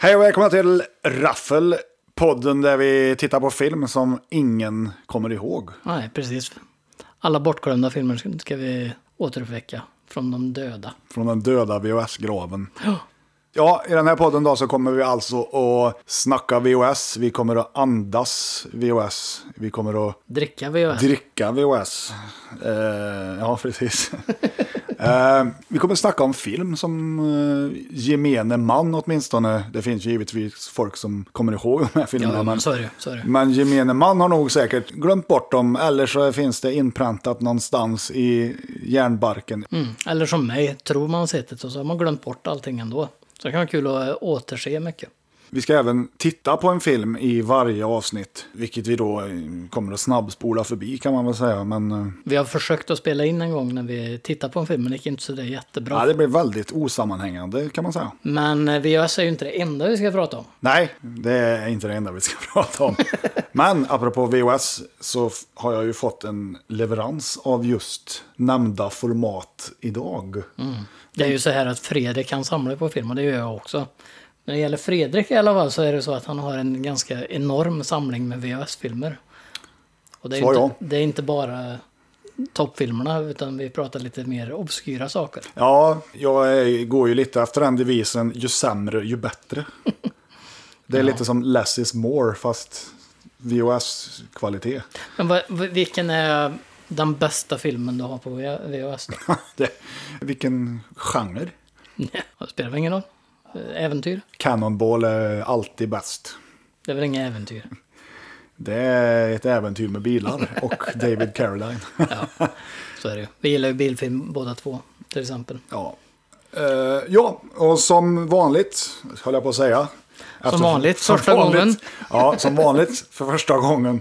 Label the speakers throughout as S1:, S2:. S1: Hej och välkomna till Raffel, podden där vi tittar på film som ingen kommer ihåg.
S2: Nej, precis. Alla bortglömda filmer ska- ska vi återuppväcka från de döda.
S1: Från den döda VHS-graven. Ja, i den här podden då så kommer vi alltså att snacka VHS, vi kommer att andas VHS, vi kommer att
S2: Dricka VHS.
S1: dricka VHS. Eh, ja, precis. Eh, vi kommer att snacka om film som eh, gemene man åtminstone. Det finns ju givetvis folk som kommer ihåg de här filmerna.
S2: ja,
S1: men-
S2: men så är det. Så är det.
S1: Men gemene man har nog säkert glömt bort dem, eller så finns det inpräntat någonstans i hjärnbarken.
S2: Mm. Eller som mig, tror man sett det och så har man glömt bort allting ändå. Så det kan vara kul att eh, återse mycket.
S1: Vi ska även titta på en film i varje avsnitt, vilket vi då eh, kommer att snabbspola förbi kan man väl säga. Men eh,
S2: Vi har försökt att spela in en gång när vi tittade på en film, men det gick inte så där jättebra.
S1: ja, det blir väldigt osammanhängande kan man säga.
S2: Men eh, VHS är ju inte det enda vi ska prata om.
S1: Nej, det är inte det enda vi ska prata om. Men apropå VHS så f- har jag ju fått en leverans av just nämnda format idag.
S2: Det är ju så här att Fredrik kan samla på film och det gör jag också. När det gäller Fredrik i alla fall så är det så att han har en ganska enorm samling med VHS-filmer. Och det är,
S1: Så
S2: ju
S1: har
S2: inte, det är inte bara toppfilmerna utan vi pratar lite mer obskyra saker.
S1: Ja, jag är, går ju lite efter den devisen, ju sämre ju bättre. Det är lite som less is more, fast VHS-kvalitet.
S2: Men vad, vilken är den bästa filmen du har på VHS då?
S1: Det- Vilken genre?
S2: Nej, det spelar väl ingen roll. Äventyr?
S1: Cannonball är alltid bäst.
S2: Det är väl inga äventyr?
S1: Det är ett äventyr med bilar och David Caroline.
S2: Så är det ju. Vi gillar ju bilfilm båda två till exempel.
S1: Ja. Eh, ja, och som vanligt, höll jag på att säga. Eftersom-
S2: vanligt, första gången.
S1: Ja, som vanligt, för första gången,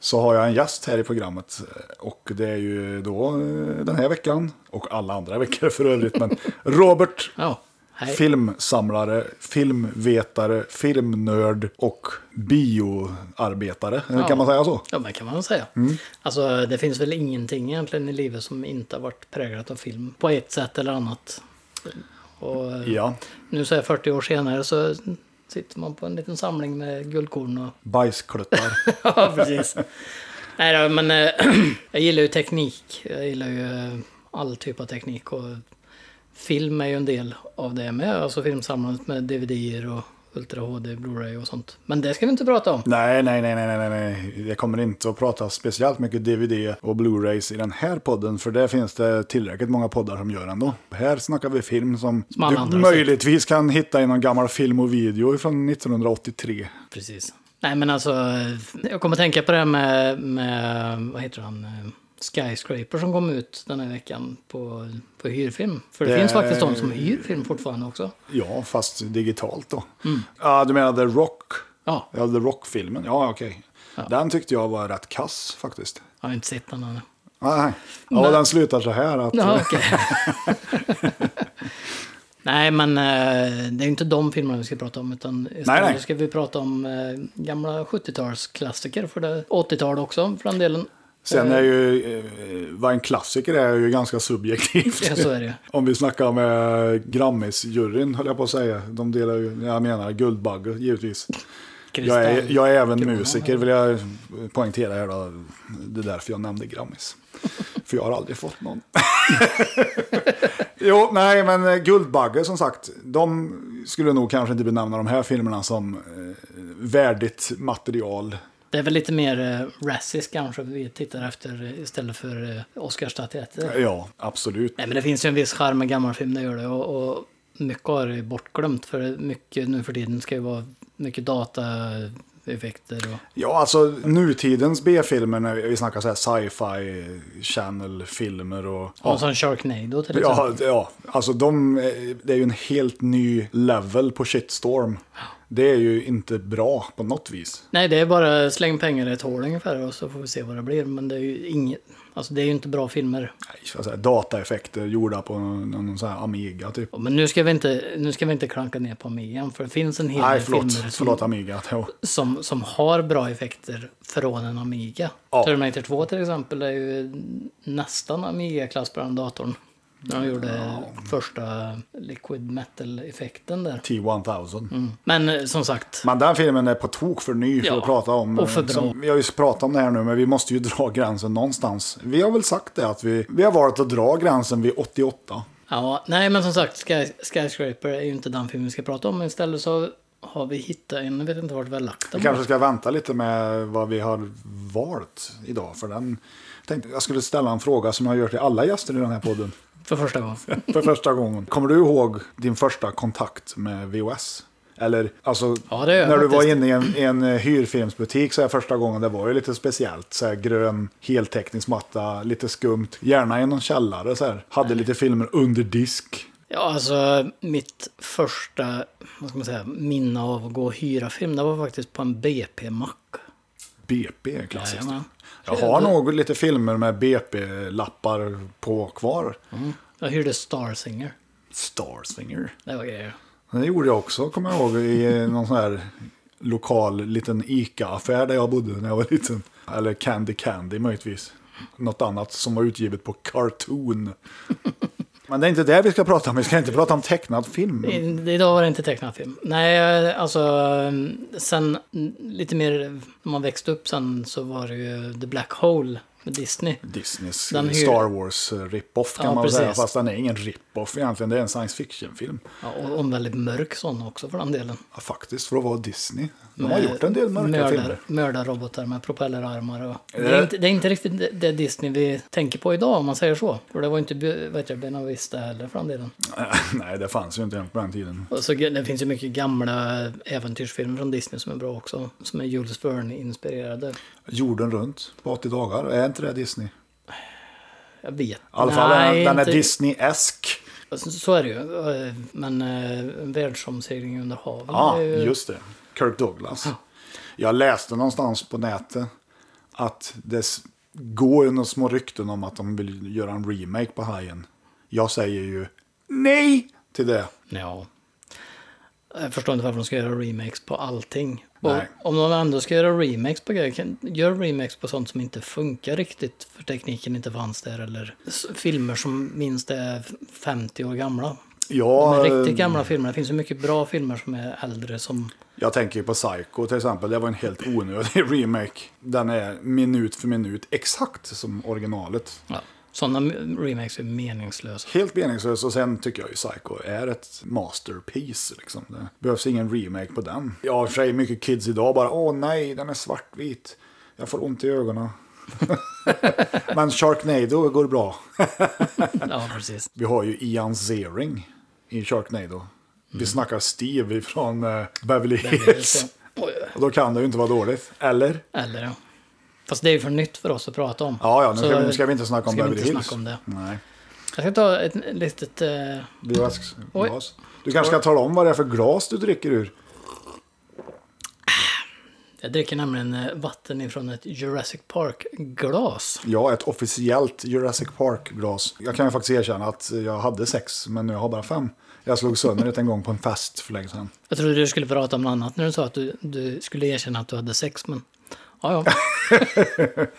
S1: så har jag en gäst här i programmet. Och det är ju då eh, den här veckan, och alla andra veckor för övrigt, men Robert,
S2: Ja, hej.
S1: filmsamlare, filmvetare, filmnörd och bioarbetare.
S2: Ja.
S1: Kan man säga så?
S2: Ja, men kan man säga. Alltså, det finns väl ingenting egentligen i livet som inte har varit präglat av film på ett sätt eller annat. Och eh,
S1: Ja.
S2: nu så här 40 år senare så sitter man på en liten samling med guldkorn och...
S1: Bajskluttar.
S2: Ja, precis. Nej då, men eh, jag gillar ju teknik. Jag gillar ju eh, all typ av teknik och film är ju en del av det med. Alltså filmsamlandet med DVD-er och Ultra HD, Blu-ray och sånt. Men det ska vi inte prata om.
S1: Nej, nej, nej, nej, nej, nej, nej. Det kommer inte att prata speciellt mycket DVD och Blu-rays i den här podden, för det finns det tillräckligt många poddar som gör ändå. Här snackar vi film som,
S2: Som alla
S1: du
S2: andra har
S1: möjligtvis kan hitta i någon gammal film och video från 1983.
S2: Precis. Nej men alltså, eh, jag kommer tänka på det här med, med vad heter han, eh, Skyscraper som kom ut den här veckan på, på hyrfilm. För det,
S1: Det-
S2: finns faktiskt de som hyr film fortfarande också.
S1: Ja, fast digitalt då.
S2: Mm.
S1: Ja, du menar The Rock?
S2: Ja,
S1: Ja, The Rock-filmen. Ja, okej. Den tyckte jag var rätt kass faktiskt.
S2: jag har inte sett den ännu.
S1: Nej, nej. ja,
S2: Men-
S1: den slutar så här att... eh,
S2: Ja, okej. Nej men eh, det är ju inte de filmerna vi ska prata om utan istället
S1: Nej, nej.
S2: ska vi prata om eh, gamla 70-talsklassiker, för det 80-tal också för den delen.
S1: Sen är ju, eh, vad en klassiker är är ju ganska subjektivt.
S2: Ja, så är det ju.
S1: Om vi snackar med Grammis-juryn, höll jag på att säga. De delar ju, jag menar Guldbagge givetvis. Jag är,
S2: Kristall.
S1: jag är även musiker, vill jag poängtera här då. Det är därför jag nämnde Grammis. För jag har aldrig fått någon. jo, nej, men eh, Guldbagge som sagt, de skulle nog kanske inte benämna de här filmerna som eh, värdigt material.
S2: Det är väl lite mer eh, rassiskt kanske vi tittar efter eh, istället för eh, Oscarsstatyetter.
S1: Ja, absolut.
S2: Nej men det finns ju en viss charm med gammal film, det gör det. Och, och mycket har det bortglömt för mycket nu för tiden ska ju vara mycket dataeffekter och...
S1: Ja, alltså nutidens B-filmer, när vi snackar så här sci-fi channel-filmer och...
S2: och som Sharknado till exempel.
S1: Ja, ja, alltså de, eh, det är ju en helt ny level på shitstorm. Det är ju inte bra på något vis.
S2: Nej det är bara släng pengar i ett hål ungefär och så får vi se vad det blir. Men det är ju inget... Alltså det är ju inte bra filmer.
S1: Nej, så att säga, dataeffekter gjorda på någon, någon sån här Amiga typ.
S2: Men nu ska vi inte, nu ska vi inte klanka ner på Amigan för det finns en hel
S1: Nej,
S2: del
S1: förlåt.
S2: filmer som,
S1: Förlåt Amiga. Ja.
S2: som, som har bra effekter från en Amiga.
S1: Ja.
S2: Terminator 2 till exempel är ju nästan Amiga-klass på den datorn. När de gjorde första liquid metal-effekten där.
S1: Typ. T-1000.
S2: Men eh, som sagt,
S1: Men den filmen är på tok för ny för
S2: Ja,
S1: att prata om.
S2: och för bra.
S1: Som- vi har ju pratat om det här nu, men vi måste ju dra gränsen någonstans. Vi har väl sagt det att vi, vi har valt att dra gränsen vid 88.
S2: ja, nej men som sagt, Sky, Skyscraper är ju inte den film vi ska prata om. Istället så har vi hittat en, jag vet inte vart vi har lagt
S1: Vi
S2: den.
S1: kanske ska vänta lite med vad vi har valt idag. För den, jag, tänkte, jag skulle ställa en fråga som jag gör till alla gäster i den här podden.
S2: För första gången.
S1: För första gången. Kommer du ihåg din första kontakt med VHS? Eller alltså,
S2: Ja, det gör jag
S1: när du var
S2: faktiskt.
S1: inne i en, i en eh, hyrfilmsbutik så här första gången, det var ju lite speciellt. Så här, grön heltäckningsmatta, lite skumt, gärna i någon källare. Så här. Hade lite filmer under disk.
S2: Ja, alltså mitt första vad ska man säga, minne av att gå och hyra film, det var faktiskt på en BP-mack.
S1: BP är klassiskt.
S2: Jajamän.
S1: Jag har nog lite filmer med BP-lappar på kvar.
S2: Jag hyrde Starsinger.
S1: Starsinger.
S2: Det var grejer.
S1: Det gjorde jag också, kommer jag ihåg, i någon sån här lokal liten ICA-affär där jag bodde när jag var liten. Eller Candy Candy möjligtvis. Något annat som var utgivet på Cartoon. Men det är inte det vi ska prata om, vi ska inte prata om tecknad film.
S2: I- Idag var det inte tecknad film. Nej, alltså sen mm, lite mer när man växte upp sen så var det ju The Black Hole med Disney.
S1: Disneys
S2: Den hyr-
S1: Star Wars eh, rip-off kan
S2: Ja,
S1: man väl säga,
S2: precis.
S1: fast den är ingen rip-off egentligen, det är en science fiction-film.
S2: Ja, och en väldigt mörk sån också för den delen.
S1: Ja, faktiskt, för att vara Disney. De har gjort en del mörka
S2: mördar,
S1: filmer.
S2: Mördarrobotar med propellerarmar och...
S1: Eh.
S2: Det är, inte, det är inte riktigt det- det Disney vi tänker på idag om man säger så. För det var ju inte Be- vet jag, Bena Vista heller för den delen.
S1: Nej, det fanns ju inte ens på den tiden.
S2: Och så, det finns ju mycket gamla äventyrsfilmer från Disney som är bra också. Som är Jules Verne-inspirerade.
S1: Jorden runt på 80 dagar, är inte det Disney?
S2: Jag vet. I
S1: I alla fall den, den är Disney-esk.
S2: Så är det ju. Eh, Men eh, en världsomsegling under haven.
S1: Ja,
S2: är ju-
S1: Ah, just det. Kirk Douglas. Jag läste någonstans på nätet att det s- går ju några små rykten om att de vill göra en remake på Hajen. Jag säger ju nej till det.
S2: Ja. Jag förstår inte varför de ska göra remakes på allting. Och
S1: Nej.
S2: om de ändå ska göra remakes på grejer, kan- gör remakes på sånt som inte funkar riktigt för tekniken inte fanns där. Eller s- filmer som minst är f- 50 år gamla. De
S1: Jag,
S2: är riktigt gamla filmer. Det finns ju mycket bra filmer som är äldre som...
S1: jag tänker på Psycho till exempel. Det var en helt onödig remake. Den är minut för minut exakt som originalet.
S2: Ja, sådana m- remakes är meningslösa.
S1: Helt meningslös och sen tycker jag ju Psycho är ett masterpiece. Liksom. Det behövs ingen remake på den. Jag har i och för sig mycket kids idag bara åh nej, den är svartvit. Jag får ont i ögonen. Men Sharknado går bra.
S2: Ja, precis.
S1: Vi har ju Ian Zering i Sharknado. Vi
S2: Mm.
S1: snackar Steve från eh, Beverly Hills.
S2: Oj,
S1: Och då kan det ju inte vara dåligt. Eller?
S2: Eller ja. Fast det är ju för nytt för oss att prata om.
S1: Ja, ja, nu
S2: Så
S1: ska, vi- nu ska vi inte snacka om
S2: ska vi
S1: Beverly
S2: inte
S1: Hills.
S2: snacka om det.
S1: Nej.
S2: Jag ska ta ett litet... Eh,
S1: Det är vask-
S2: Oj.
S1: glas. Du kanske ska tala om vad det är för glas du dricker ur.
S2: Jag dricker nämligen eh, vatten ifrån ett Jurassic Park-glas.
S1: Ja, ett officiellt Jurassic Park-glas. Jag kan ju faktiskt erkänna att jag hade sex, men nu har jag bara fem. Jag slog sönder det en gång på en fest för länge sedan.
S2: Jag trodde du skulle prata om något annat när du sa att du, du skulle erkänna att du hade sex, men... Ja, ja.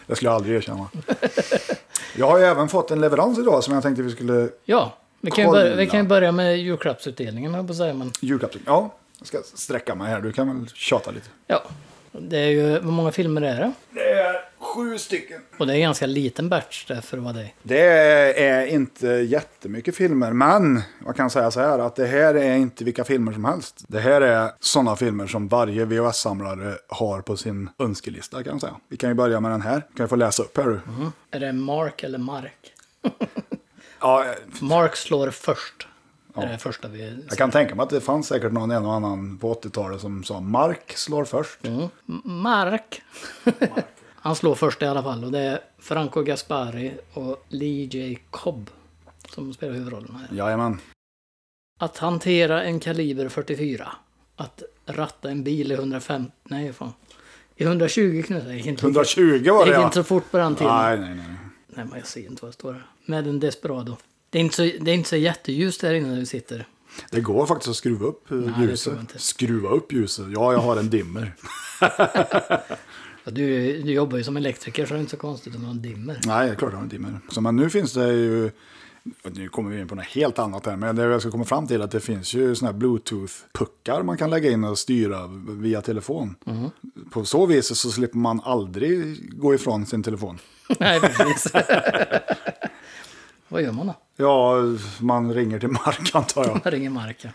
S1: Det skulle jag aldrig erkänna. Jag har ju även fått en leverans idag som jag tänkte vi skulle...
S2: ja vi, kan ju
S1: Kolla.
S2: börja, vi kan ju börja med julklappsutdelningen, höll jag på att säga, men...
S1: Julklappsutdelning. Ja, jag ska sträcka mig här. Du kan väl tjata lite.
S2: Ja. Det är ju... Hur många filmer är det?
S1: Det är sju stycken.
S2: Och det är en ganska liten batch där för att vara dig.
S1: Det är inte jättemycket filmer, men jag kan säga så här att det här är inte vilka filmer som helst. Det här är sådana filmer som varje VHS-samlare har på sin önskelista kan jag säga. Vi kan ju börja med den här. Kan jag få läsa upp här du?
S2: Är det Mark eller Mark?
S1: Ja,
S2: Mark slår först. Det är det första vi...
S1: jag kan tänka mig att det fanns säkert någon en och annan på 80-talet som sa Mark slår först.
S2: Mm. M- Mark. Han slår först i alla fall och det är Franco Gaspari och Lee J. Cobb som spelar huvudrollen här.
S1: Jajamän.
S2: Att hantera en kaliber 44. Att ratta en bil i 150... Nej, fan. I 120 knutar. Det gick inte,
S1: 120 var
S2: det
S1: det
S2: gick
S1: ja.
S2: inte så fort på den tiden. Nej.
S1: Nej, nej, nej.
S2: men jag ser inte vad det står här. Med en Desperado. Det är inte så, det är inte så jätteljust här inne när vi sitter.
S1: Det går faktiskt att skruva upp eh,
S2: jag
S1: ljuset.
S2: tror inte.
S1: Skruva upp ljuset? Ja, jag har en dimmer.
S2: Ja, Du, du jobbar ju som elektriker så det är inte så konstigt om man dimmer.
S1: Nej, det är klart jag har en dimmer. Så, men nu finns det ju Nu kommer vi in på något helt annat här, men det jag ska komma fram till är att det finns ju såna här bluetooth-puckar man kan lägga in och styra via telefon. På så vis så slipper man aldrig gå ifrån sin telefon.
S2: Nej, precis. Vad gör man då?
S1: Ja, man ringer till mark antar jag.
S2: Man ringer marken.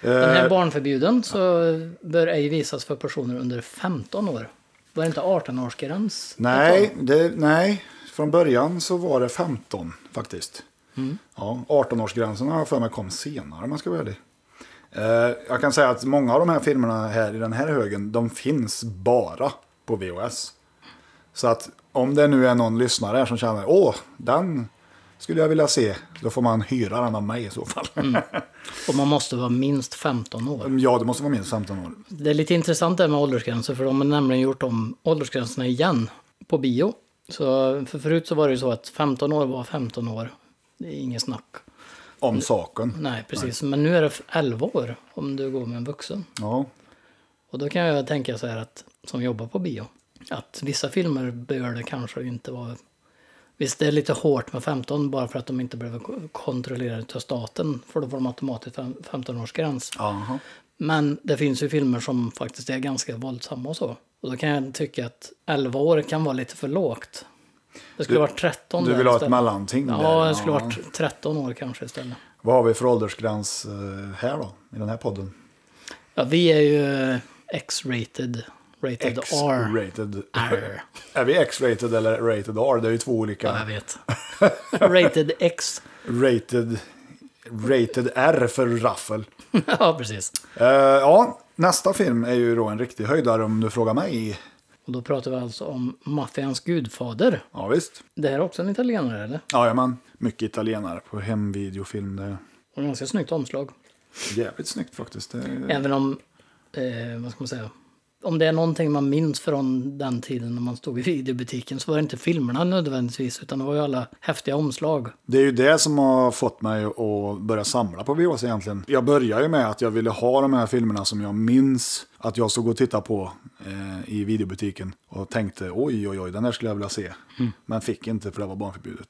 S2: Den här är
S1: Eh,
S2: barnförbjuden så bör ej visas för personer under 15 år. Var det inte 18-årsgräns?
S1: Nej, det, nej, från början så var det 15 faktiskt.
S2: Mm.
S1: Ja, 18-årsgränsen har jag för mig kom senare om man ska vara ärlig. Eh, jag kan säga att många av de här filmerna här i den här högen, de finns bara på VHS. Så att om det nu är någon lyssnare här som känner, åh, den skulle jag vilja se, då får man hyra den av mig i så fall.
S2: Mm. Och man måste vara minst 15 år.
S1: ja, det måste vara minst 15 år.
S2: Det är lite intressant det här med åldersgränser för de har nämligen gjort om åldersgränserna igen på bio. Så för förut så var det ju så att 15 år var 15 år. Det är inget snack. Mm.
S1: Om saken.
S2: Nej, precis. Men nu är det 11 år om du går med en vuxen.
S1: Ja,
S2: Och då kan jag tänka så här att, som jobbar på bio, att vissa filmer bör det kanske inte vara... Visst, det är lite hårt med 15 bara för att de inte behöver ko- kontrollerade av staten, för då får de automatiskt fem- 15-årsgräns.
S1: Aha.
S2: Men det finns ju filmer som faktiskt är ganska våldsamma och så. Och då kan jag tycka att 11 år kan vara lite för lågt. Det skulle
S1: Du-
S2: varit 13
S1: du
S2: där
S1: vill ha ett
S2: istället.
S1: mellanting
S2: Ja,
S1: där,
S2: det skulle
S1: ja.
S2: varit 13 år kanske istället.
S1: Vad har vi för åldersgräns eh, här då, i den här podden?
S2: Ja, vi är ju X-rated, rated R.
S1: X-rated. Är vi X-rated eller rated R? Det är ju två olika.
S2: Ja, jag vet. Rated X.
S1: rated, rated R för raffel.
S2: ja, precis.
S1: Eh, ja, nästa film är ju då en riktig höjdare om du frågar mig.
S2: Och då pratar vi alltså om maffians gudfader.
S1: Ja, visst.
S2: Det här är också en italienare, eller?
S1: Jajamän. Mycket italienare på hemvideofilm. Det är
S2: Och ganska snyggt omslag.
S1: jävligt snyggt faktiskt. Det är...
S2: Även om, eh, vad ska man säga, om det är någonting man minns från den tiden när man stod i videobutiken så var det inte filmerna nödvändigtvis utan det var ju alla häftiga omslag.
S1: Det är ju det som har fått mig att börja samla på VHS egentligen. Jag började ju med att jag ville ha de här filmerna som jag minns att jag såg och tittade på eh, i videobutiken och tänkte oj, oj, oj, den här skulle jag vilja se.
S2: Mm.
S1: Men fick inte för det var barnförbjudet.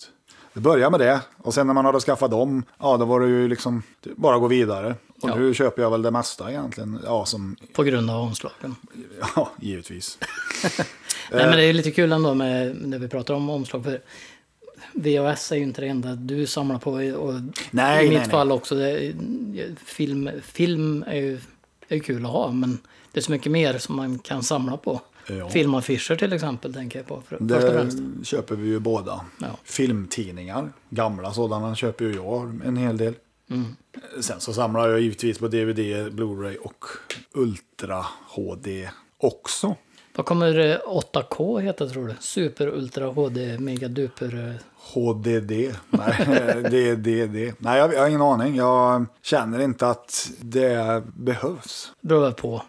S1: Det började med det och sen när man hade skaffat dem, ja då var det ju liksom det är bara att gå vidare. Och
S2: Ja.
S1: nu köper jag väl det mesta egentligen, ja som,
S2: På grund av omslagen.
S1: ja givetvis.
S2: Nej, men det är
S1: Eh.
S2: lite kul ändå med när vi pratar om omslag. För VHS är ju inte det enda du samlar på. Och
S1: Nej,
S2: I mitt
S1: nej, nej.
S2: fall också. Det, är- film film är, ju, är ju kul att ha, men det är så mycket mer som man kan samla på.
S1: Ja.
S2: Filmaffischer till exempel tänker jag på. För, först och
S1: Det
S2: främst.
S1: köper vi ju båda.
S2: Ja.
S1: Filmtidningar, gamla sådana, köper ju jag en hel del. Sen så samlar jag givetvis på DVD, Blu-ray och Ultra HD också.
S2: Vad kommer eh, 8K heta tror du? Super Ultra HD Mega Duper. eh,
S1: HDD. Nej, DDD. Nej, jag, jag har ingen aning. Jag känner inte att det behövs.
S2: Beror väl på.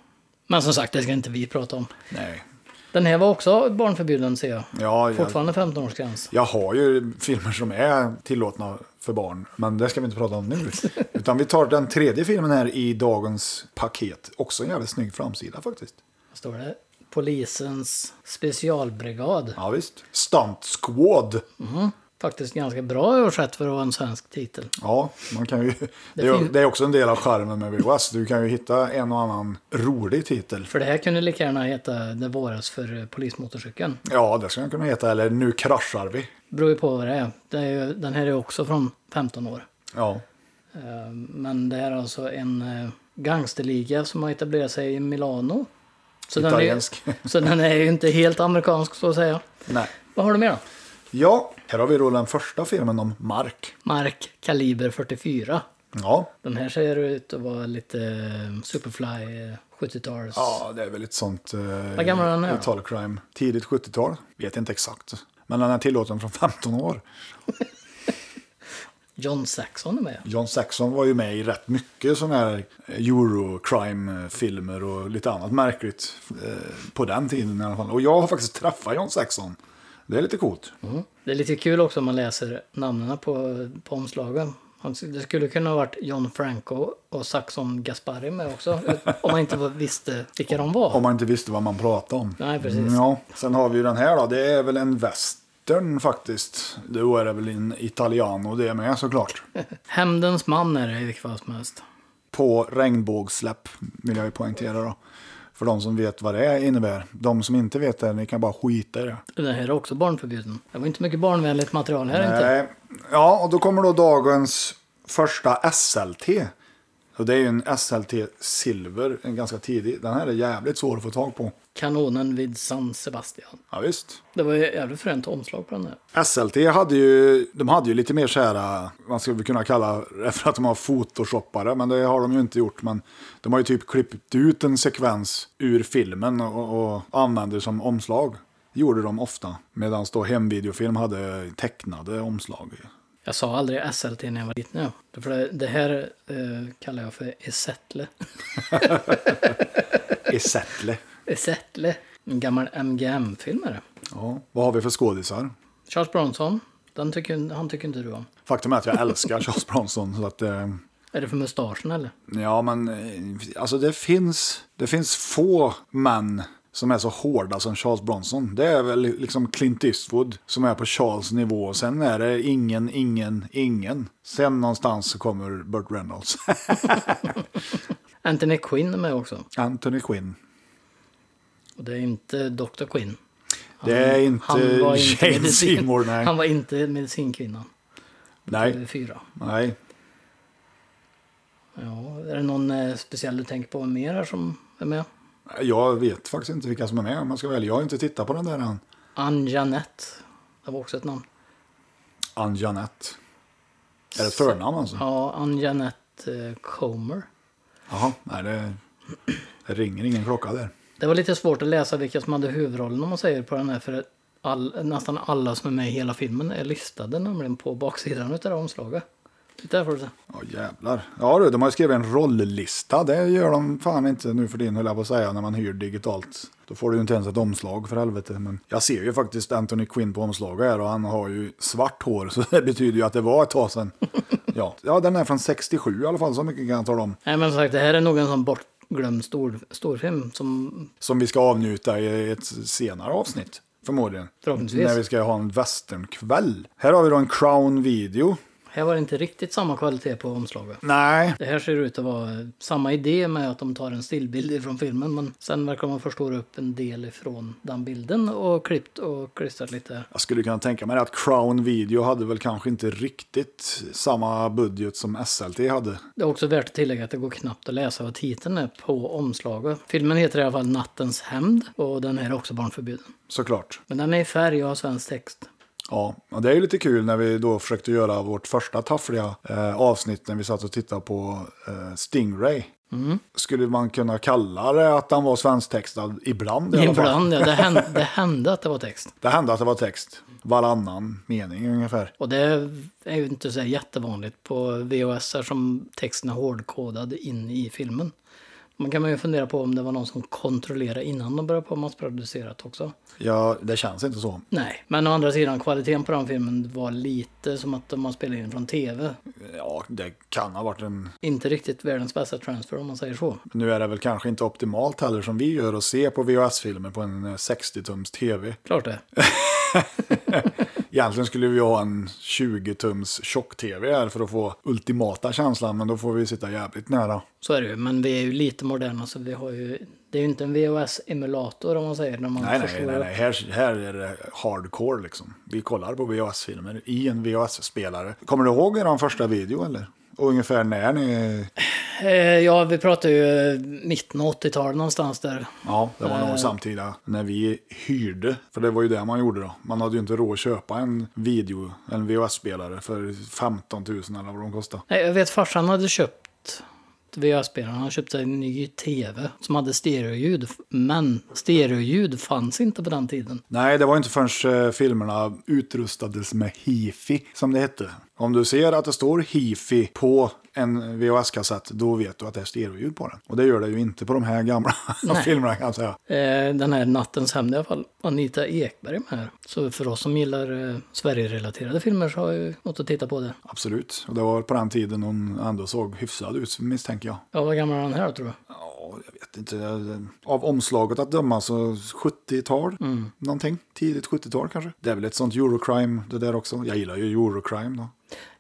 S2: Men som sagt, det ska inte vi prata om.
S1: Nej.
S2: Den här var också barnförbjuden ser jag.
S1: Ja, jag,
S2: Fortfarande 15-årsgräns.
S1: jag har ju filmer som är tillåtna för barn, men det ska vi inte prata om nu. Utan vi tar den tredje filmen här i dagens paket. Också en jävligt snygg framsida faktiskt.
S2: Vad står det? Polisens specialbrigad.
S1: Ja, visst. Stunt Squad.
S2: Faktiskt ganska bra översatt för att vara en svensk titel.
S1: Ja, man kan ju, det, är,
S2: finns-
S1: det är också en del av charmen med VHS. Du kan ju hitta en och annan rolig titel.
S2: För det här kunde lika gärna heta Det våras för eh, polismotorcykeln.
S1: Ja, det ska den kunna heta. Eller Nu kraschar vi.
S2: Beror ju på vad det är. Det är ju, den här är också från 15 år.
S1: Ja,
S2: Eh, Men det här är alltså en eh, gangsterliga som har etablerat sig i Milano. Så
S1: Italiensk.
S2: Den är, så den är ju inte helt amerikansk så att säga.
S1: nej.
S2: Vad har du mer då?
S1: Ja, här har vi då den första filmen om Mark.
S2: Mark Kaliber 44.
S1: Ja,
S2: Den här ser ut att vara lite eh, Superfly eh, 70-tals.
S1: ja det är väl ett sånt... Eh, Vad
S2: gammal är den nu då?
S1: Total crime. Tidigt 70-tal. Vet inte exakt. Men den är tillåten från 15 år.
S2: John Saxon är med.
S1: John Saxon var ju med i rätt mycket sådana här eh, Eurocrime-filmer och lite annat märkligt eh, på den tiden i alla fall. Och jag har faktiskt träffat John Saxon. Det är lite coolt.
S2: Det är lite kul också om man läser namnen på, på omslagen. Han- Det skulle kunna ha varit John Franco och Saxon Gaspari med också. om man inte var- visste vilka de var.
S1: Om man inte visste vad man pratade om.
S2: Nej, precis.
S1: Mm, Ja. Sen har vi ju den här då. Det är väl en väst tittern faktiskt. Då är det väl en italiano det med såklart.
S2: Hämndens man är det i vilket fall som helst.
S1: På regnbågssläpp vill jag ju poängtera då. För de som vet vad det innebär. De som inte vet det, ni kan bara skita i det.
S2: Den här är också barnförbjuden. Det var inte mycket barnvänligt material här inte.
S1: Nej. Ja, och då kommer då dagens första SLT. Och det är ju en SLT Silver, en ganska tidig. Den här är jävligt svår att få tag på.
S2: Kanonen vid San Sebastian.
S1: Ja, visst.
S2: Det var ju jävligt fränt omslag på den här.
S1: SLT hade ju, de hade ju lite mer så här, man skulle kunna kalla det för att de har photoshoppare, men det har de ju inte gjort. Men de har ju typ klippt ut en sekvens ur filmen och, och använder som omslag. Gjorde de ofta. Medan då hemvideofilm hade tecknade omslag.
S2: Jag sa aldrig SLT när jag var liten. Ja. För det, det här eh, kallar jag för Esetle.
S1: I Sättle.
S2: Esetle. En gammal MGM-film är det.
S1: Ja, vad har vi för skådisar?
S2: Charles Bronson. Den tycker, han tycker inte du om.
S1: Faktum är att jag älskar Charles Bronson. Så att, eh,
S2: Är det för mustaschen eller?
S1: ja, men eh, alltså det finns, det finns få män som är så hårda som Charles Bronson. Det är väl liksom Clint Eastwood som är på Charles nivå. Sen är det ingen, ingen, ingen. Sen någonstans så kommer Burt Reynolds.
S2: Anthony Quinn är med också.
S1: Anthony Quinn.
S2: Och det är inte Dr. Quinn.
S1: Det är inte Jane
S2: medicin-
S1: Seymour. Nej.
S2: Han var inte medicinkvinnan.
S1: nej,
S2: Fyra.
S1: nej.
S2: Ja, är det någon eh, speciell du tänker på mer här som är med?
S1: Jag vet faktiskt inte vilka som är med om man ska välja. Jag har inte tittat på den där än.
S2: Anjanette. Det var också ett namn.
S1: Mm. Anjanette. Är det ett förnamn alltså?
S2: Ja, Anjanette eh, Comer.
S1: Jaha, nej det, det ringer ingen klocka där.
S2: Det var lite svårt att läsa vilka som hade huvudrollen om man säger på den här. För att all, nästan alla som är med i hela filmen är listade nämligen på baksidan utav det här omslaget. Titta här får du se.
S1: Ja jävlar. Ja du, de har ju skrivit en rolllista. Det gör de fan inte nu för din höll jag på att säga, när man hyr digitalt. Då får du ju inte ens ett omslag för helvete. Men jag ser ju faktiskt Anthony Quinn på omslaget här och han har ju svart hår så det betyder ju att det var ett tag sedan. Ja, ja den är från 67 i alla fall, så mycket kan jag tala om.
S2: Nej men som sagt, det här är nog en sån bortglömd stor, storfilm som
S1: Som vi ska avnjuta i ett senare avsnitt, förmodligen.
S2: Förhoppningsvis.
S1: När vi ska ha en västernkväll. Här har vi då en Crown Video.
S2: Här var det inte riktigt samma kvalitet på omslaget.
S1: Nej,
S2: Det här ser ut att vara samma idé med att de tar en stillbild från filmen men sen verkar man förstora upp en del ifrån den bilden och klippt och klistrat lite.
S1: Jag skulle kunna tänka mig att Crown Video hade väl kanske inte riktigt samma budget som SLT hade.
S2: Det är också värt att tillägga att det går knappt att läsa vad titeln är på omslaget. Filmen heter i alla fall Nattens hämnd och den här är också barnförbjuden.
S1: Såklart.
S2: Men den är i färg och har svensk text.
S1: Ja, och det är ju lite kul när vi då försökte göra vårt första taffliga eh, avsnitt när vi satt och tittade på eh, Stingray. Skulle man kunna kalla det att den var svensktextad ibland i alla fall?
S2: Ibland, ja. Det hände, det hände att det var text.
S1: Det hände att det var text. Varannan mening ungefär.
S2: Och det är ju inte så här jättevanligt på VHS som texten är hårdkodad in i filmen. Man kan man ju fundera på om det var någon som kontrollerade innan de började på massproducerat också.
S1: Ja, det känns inte så.
S2: Nej, men å andra sidan kvaliteten på den filmen var lite som att man spelade in från tv.
S1: Ja, det kan ha varit en
S2: Inte riktigt världens bästa transfer om man säger så.
S1: Nu är det väl kanske inte optimalt heller som vi gör att se på VHS-filmer på en eh, 60-tums tv.
S2: Klart det.
S1: Egentligen skulle vi ha en 20-tums tjock-tv här för att få ultimata känslan, men då får vi sitta jävligt nära.
S2: Så är det ju, men vi är ju lite moderna så vi har ju... Det är ju inte en VHS-emulator om man säger. När man
S1: Nej, nej,
S2: förstår-
S1: nej, nej. Här, här är det hardcore liksom. Vi kollar på VHS-filmer i en VHS-spelare. Kommer du ihåg er första video eller? Och ungefär när ni...
S2: Eh, Ja, vi pratar ju eh, mitten av 80-talet någonstans där.
S1: Ja, det var nog samtida när vi hyrde. För det var ju det man gjorde då. Man hade ju inte råd att köpa en video, en VHS-spelare för 15 000 eller vad de kostade.
S2: Nej, jag vet farsan hade köpt VHS-spelaren. Han köpte en ny tv som hade stereoljud. Men stereoljud fanns inte på den tiden.
S1: Nej, det var inte förrän eh, filmerna utrustades med hifi, som det hette. Om du ser att det står hifi på en VHS-kassett, då vet du att det är stereoljud på den. Och det gör det ju inte på de här gamla filmerna kan jag säga.
S2: Eh, den här Nattens hämnd i alla fall. Anita Ekberg är med här. Så för oss som gillar eh, Sverige-relaterade filmer så har jag ju något att titta på det.
S1: Absolut. Och det var på den tiden hon ändå såg hyfsad ut, misstänker jag.
S2: Ja, vad gammal är han här då, tror du?
S1: Ja, ja, jag vet inte. Av omslaget att döma så 70-tal, någonting. Tidigt 70-tal kanske. Det är väl ett sånt Eurocrime det där också. Jag gillar ju Eurocrime då.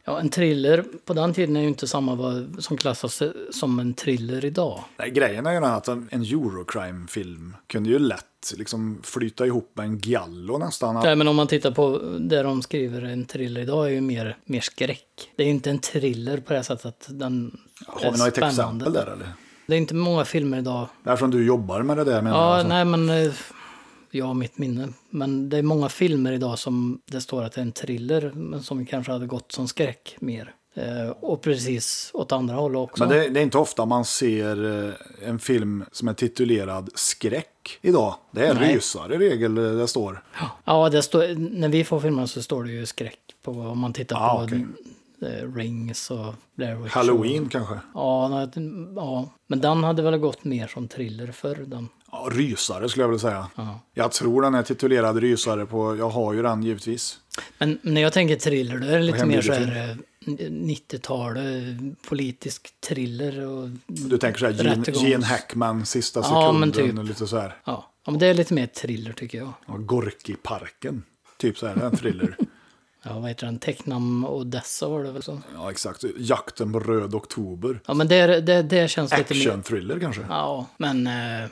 S2: Ja, en thriller på den tiden är ju inte samma vad som klassas som en thriller idag.
S1: Nej, grejen är ju den att en en Eurocrime-film kunde ju lätt liksom flyta ihop med en giallo nästan.
S2: Nej, men om man tittar på där de skriver en thriller idag är ju mer, mer skräck. Det är ju inte en thriller på det här sättet att den
S1: Har vi något exempel där eller?
S2: Det är inte många filmer idag.
S1: Därför du jobbar med det där menar
S2: Ja,
S1: jag. alltså.
S2: nej men... eh, Jag har mitt minne. Men det är många filmer idag som det står att det är en thriller, men som kanske hade gått som skräck mer. Eh, och precis åt andra hållet också.
S1: Men det, det är inte ofta man ser eh, en film som är titulerad skräck idag. Det är
S2: Nej.
S1: rysare i regel eh, det står.
S2: Ja, det står, när vi får filmen så står det ju skräck på om man tittar
S1: Ah,
S2: på
S1: okej.
S2: eh, Rings och Blair Witch.
S1: Halloween kanske.
S2: Ja, nej, ja, men den hade väl gått mer som thriller förr. Den.
S1: Ja, rysare skulle jag vilja säga.
S2: Ja.
S1: Jag tror den är titulerad rysare på, jag har ju den givetvis.
S2: Men när jag tänker thriller, då är det lite mer så
S1: hembjuder
S2: här eh, 90-tal, eh, politisk thriller och...
S1: Du tänker så här Gene,
S2: Rättegångs-
S1: Gene Hackman sista
S2: Ja,
S1: sekunden.
S2: men typ.
S1: och Lite så här.
S2: Ja, ja, men det är lite mer thriller tycker jag.
S1: Ja, Gorki-parken. Typ så här, en thriller.
S2: Ja, vad heter den? Tecknam Odessa var det väl så?
S1: ja, exakt. Jakten på röd oktober.
S2: Ja, men det, det, det känns lite mer...
S1: Action-thriller kanske.
S2: Ja, men... eh,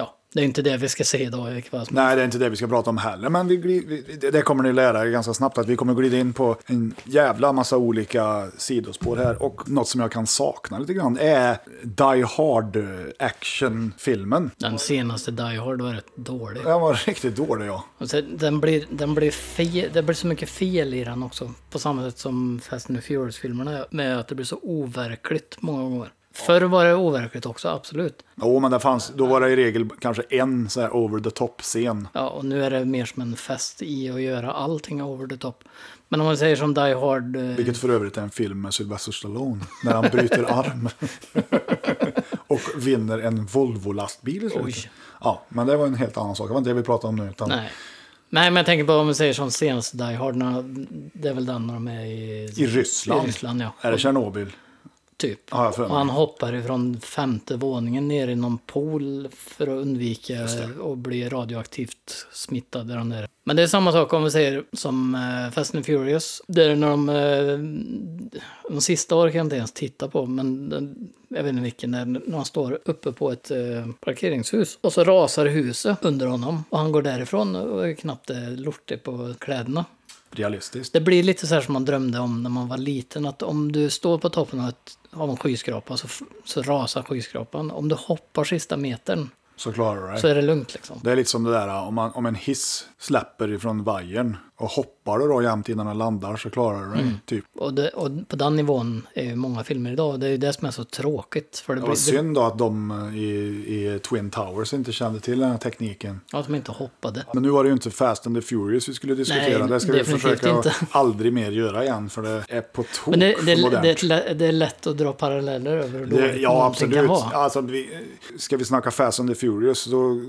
S2: Ja, det är inte det vi ska se idag i kväll.
S1: Nej, det är inte det vi ska prata om heller, men vi, gli- vi, det- det kommer ni lära er ganska snabbt, att vi kommer glida in på en jävla massa olika sidospår här. Och något som jag kan sakna lite grann är Die Hard-actionfilmen.
S2: Den senaste Die Hard var rätt dålig.
S1: Den var riktigt dålig, ja.
S2: Och sen, den blir, den blir fel, det blir så mycket fel i den också. På samma sätt som Fast and the Furious-filmerna. Med att det blir så overkligt många gånger. Förr var det overkligt också, absolut.
S1: Jo, men det fanns, då var det i regel kanske en så här over the top-scen.
S2: Ja, och nu är det mer som en fest i att göra allting over the top. Men om man säger som Die Hard... eh,
S1: Vilket för övrigt är en film med Sylvester Stallone, när han bryter arm. och vinner en Volvo-lastbil i slutet.
S2: Oj.
S1: Ja, men det var en helt annan sak. Det var inte det vi pratade om nu. Utan
S2: Nej. Nej, men jag tänker på om man säger som senaste Die Hard. när- Det är väl den när de är i...
S1: I Ryssland.
S2: I Ryssland, ja.
S1: Är det Tjernobyl?
S2: Typ.
S1: Ja, jag för
S2: Och han hoppar ifrån femte våningen ner i någon pool för att undvika att bli radioaktivt smittad. Där han är. Men det är samma sak om vi säger som eh, Fast and Furious. Där när de, eh, de sista orkar jag inte ens titta på, men den, jag vet inte vilken, när, när han står uppe på ett eh, parkeringshus och så rasar huset under honom och han går därifrån och är knappt eh, lortig på kläderna.
S1: Realistiskt.
S2: Det blir lite så här som man drömde om när man var liten. Att om du står på toppen av, ett, av en skyskrapa så, f- så rasar skyskrapan. Om du hoppar sista metern
S1: Så klarar du
S2: så
S1: det.
S2: är det lugnt liksom.
S1: Det är lite som det där om, man, om en hiss släpper ifrån vajern och hoppar du då jämt innan den landar så klarar du det.
S2: Mm.
S1: Typ.
S2: Och, det, och på den nivån är ju många filmer idag. Det är ju det som är så tråkigt. För
S1: Det
S2: det
S1: var
S2: blir, det,
S1: synd då att de i, i Twin Towers inte kände till den här tekniken.
S2: att de inte hoppade.
S1: Men nu var det ju inte Fast and the Furious vi skulle diskutera.
S2: Nej,
S1: det ska vi
S2: definitivt
S1: försöka
S2: inte.
S1: aldrig mer göra igen för det är på tok
S2: Men det, det,
S1: för
S2: det,
S1: modernt.
S2: det, är ett lä- det är lätt att dra paralleller över hur
S1: Det,
S2: dåligt
S1: ja,
S2: någonting
S1: absolut.
S2: kan vara.
S1: Alltså, vi, ska vi snacka Fast and the Furious, då,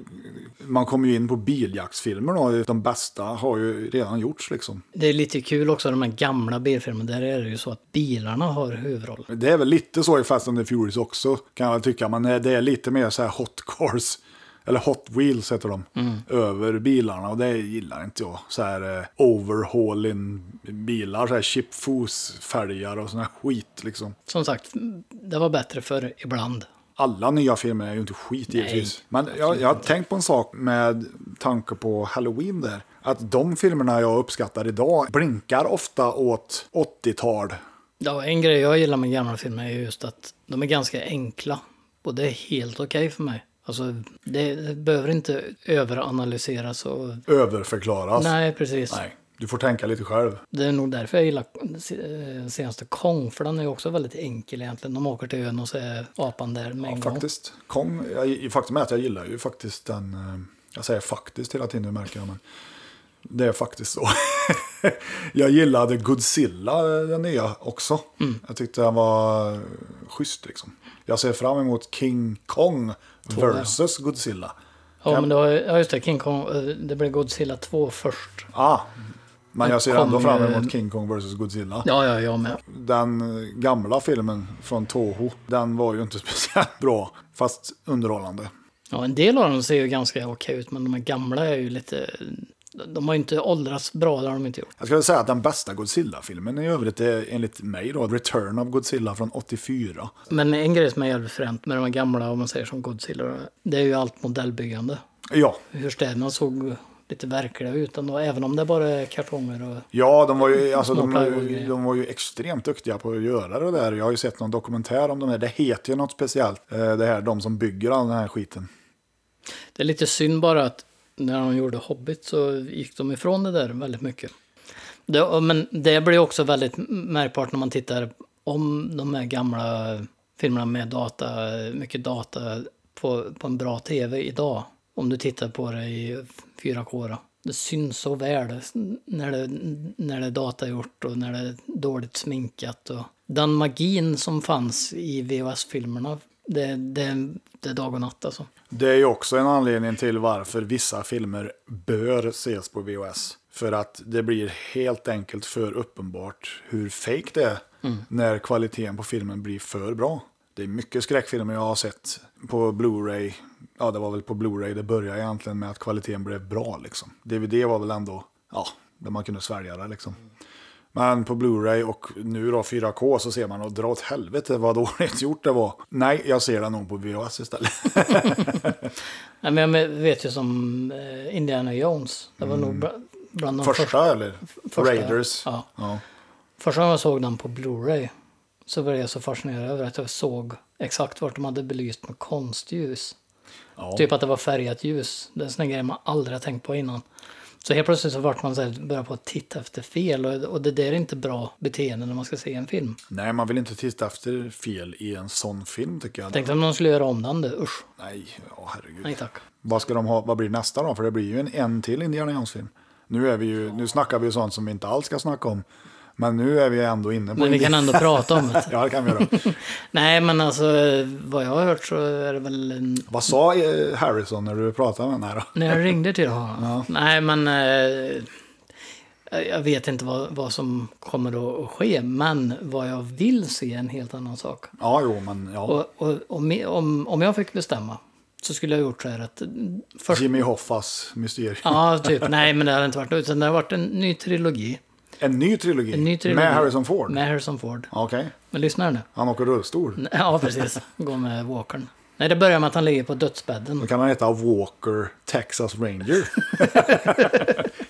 S1: man kommer ju in på biljaktsfilmer. Då. De bästa har ju redan gjorts. Liksom.
S2: Det är lite kul också, de här gamla bilfilmerna. Där är det ju så att bilarna har huvudrollen.
S1: Det är väl lite så i Fast and the Furious också, kan jag tycka. Men det är lite mer så här hot cars, eller hot wheels heter de, över bilarna. Och det gillar inte jag. Så här eh, overhauling bilar, så här chipfos-fälgar och sån här skit. Liksom.
S2: Som sagt, det var bättre förr ibland.
S1: alla nya filmer är ju inte skit givetvis. Men jag, jag har tänkt på en sak med tanke på Halloween där. Att de filmerna jag uppskattar idag blinkar ofta åt 80-tal.
S2: Ja, en grej jag gillar med gamla filmer är just att de är ganska enkla. Och det är helt okej för mig. Alltså, det, det behöver inte överanalyseras och...
S1: Överförklaras.
S2: Nej, precis.
S1: Nej. Du får tänka lite själv.
S2: Det är nog därför jag gillar eh, senaste Kong, för den är ju också väldigt enkel egentligen. De åker till ön och så är apan där med en gång.
S1: Faktiskt. Kong, jag, faktum är att jag gillar ju faktiskt den... eh, Jag säger faktiskt hela tiden, nu märker jag. Men det är faktiskt så. jag gillade Godzilla, eh, den nya, också.
S2: Mm.
S1: Jag tyckte den var eh, schysst. Liksom. Jag ser fram emot King Kong versus Godzilla.
S2: Ja, men det var, ju- ja, just det, King Kong, eh, det blev Godzilla 2 först.
S1: Ah, men jag ser
S2: Kong
S1: ändå fram
S2: är-
S1: emot King Kong versus Godzilla.
S2: Ja, ja, jag med.
S1: Den eh, gamla filmen från Toho, den var ju inte speciellt bra. fast underhållande.
S2: Ja, en del av dem ser ju ganska okej ut, men de här gamla är ju lite... De har ju inte åldrats bra, det har de inte gjort.
S1: Jag skulle säga att den bästa Godzilla-filmen i övrigt är enligt mig då Return of Godzilla från 84.
S2: Men en grej som är jävligt fränt med de här gamla, om man säger som Godzilla, det är ju allt modellbyggande.
S1: Ja,
S2: Hur städerna såg lite verkliga ut ändå, även om det bara är kartonger och...
S1: Ja, de var, ju, alltså,
S2: Mm. Små
S1: de,
S2: plywoodgrejer.
S1: de var ju extremt duktiga på att göra det där. Jag har ju sett någon dokumentär om de här. Det heter ju något speciellt, eh, det här, de som bygger all den här skiten.
S2: Det är lite synd bara att när de gjorde Hobbit så gick de ifrån det där väldigt mycket. Det, men det blir också väldigt märkbart när man tittar om de här gamla filmerna med data, mycket data på, på en bra tv idag. Om du tittar på det i 4K då. Det syns så väl när det, när det är datagjort och när det är dåligt sminkat. Och den magin som fanns i VHS-filmerna, det, det, det är dag och natt alltså.
S1: Det är ju också en anledning till varför vissa filmer bör ses på VHS. För att det blir helt enkelt för uppenbart hur fake det är när kvaliteten på filmen blir för bra. Det är mycket skräckfilmer jag har sett på Blu-ray. Ja, det var väl på Blu-ray det började egentligen med att kvaliteten blev bra. Liksom. DVD var väl ändå, ja, där man kunde svälja det liksom. Men på Blu-ray och nu då 4K så ser man och dra åt helvete vad dåligt gjort det var. Nej, jag ser det nog på VHS istället.
S2: Nej, men jag vet ju som eh, Indiana Jones. Det var nog bra- bland de
S1: Första,
S2: första.
S1: eller?
S2: första,
S1: Mm. Raiders.
S2: ja.
S1: Ja.
S2: Första gången jag såg den på Blu-ray så var jag så fascinerad över att jag såg exakt vart de hade belyst med konstljus.
S1: Ja.
S2: Typ att det var färgat ljus. Det är en sån där grej man aldrig har tänkt på innan. Så helt plötsligt så vart man så här, började på att titta efter fel och, och det där är inte bra beteende när man ska se en film.
S1: Nej, man vill inte titta efter fel i en sån film tycker jag.
S2: Tänk om någon skulle göra om den, det. usch.
S1: Nej, ja, herregud.
S2: Nej tack.
S1: Vad, ska de ha, vad blir nästa då? För det blir ju en, en till Indiana Jones-film. Nu, är vi ju, nu snackar vi ju sånt som vi inte alls ska snacka om. Men nu är vi ändå inne på...
S2: Men vi kan
S1: Indi-
S2: ändå prata om det.
S1: Ja, det kan vi göra.
S2: Nej men alltså eh, vad jag har hört så är det väl en
S1: Vad sa eh, Harrison när du pratade med honom? här då?
S2: När jag ringde till honom? Nej, men... Eh, jag vet inte vad, vad som kommer att ske, men vad jag vill se är en helt annan sak.
S1: Ja, jo, men ja.
S2: Och, och, om, jag- om, om jag fick bestämma så skulle jag gjort så här att... Först,
S1: Jimmy Hoffas mysterier.
S2: ja, typ. Nej, men det hade inte varit något. Utan det har varit en ny trilogi.
S1: En ny trilogi.
S2: En ny trilogi.
S1: Med Harrison Ford.
S2: Med Harrison Ford.
S1: Okej,
S2: Men lyssna här nu.
S1: han åker rullstol.
S2: Ja, precis. Gå med walkern. Nej, det börjar med att han ligger på dödsbädden.
S1: Då kan han heta Walker Texas Ranger.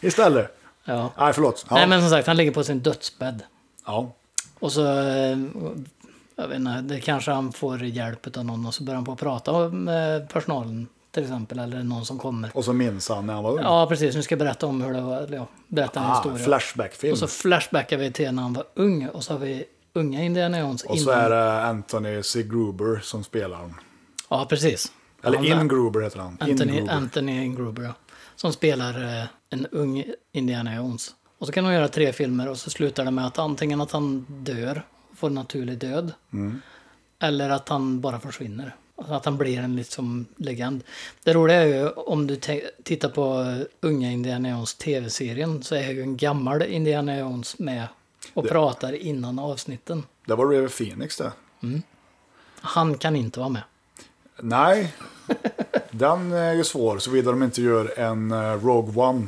S1: Istället.
S2: Ja.
S1: Nej, förlåt. Ja.
S2: Nej, men som sagt, han ligger på sin dödsbädd.
S1: ja.
S2: Och så, eh, jag vet inte, det kanske han får hjälp av någon och så börjar han på att prata med personalen till exempel, eller någon som kommer.
S1: Och så minns han när han var ung.
S2: Ja, precis, nu ska jag berätta om hur det var, eller ja, berätta en
S1: ah,
S2: historia.
S1: flashbackfilm.
S2: Och så flashbackar vi till när han var ung och så har vi unga Indiana Jones
S1: Och så är det Anthony C. Gruber som spelar honom.
S2: Ja, precis.
S1: Eller
S2: Han-
S1: In Gruber heter han. in
S2: Anthony,
S1: Gruber.
S2: Anthony Ingruber, ja. Som spelar eh, en ung Indiana Jones. Och så kan de göra tre filmer och så slutar det med att antingen att han dör, får naturlig död. Eller att han bara försvinner. Alltså att han blir en liksom legend. Det roliga är ju om du te- tittar på eh, unga Indiana Jones tv-serien så är ju en gammal Indiana Jones med och pratar innan avsnitten.
S1: Det var River Phoenix det.
S2: Han kan inte vara med.
S1: Nej, den eh, är ju svår såvida de inte gör en eh, Rogue One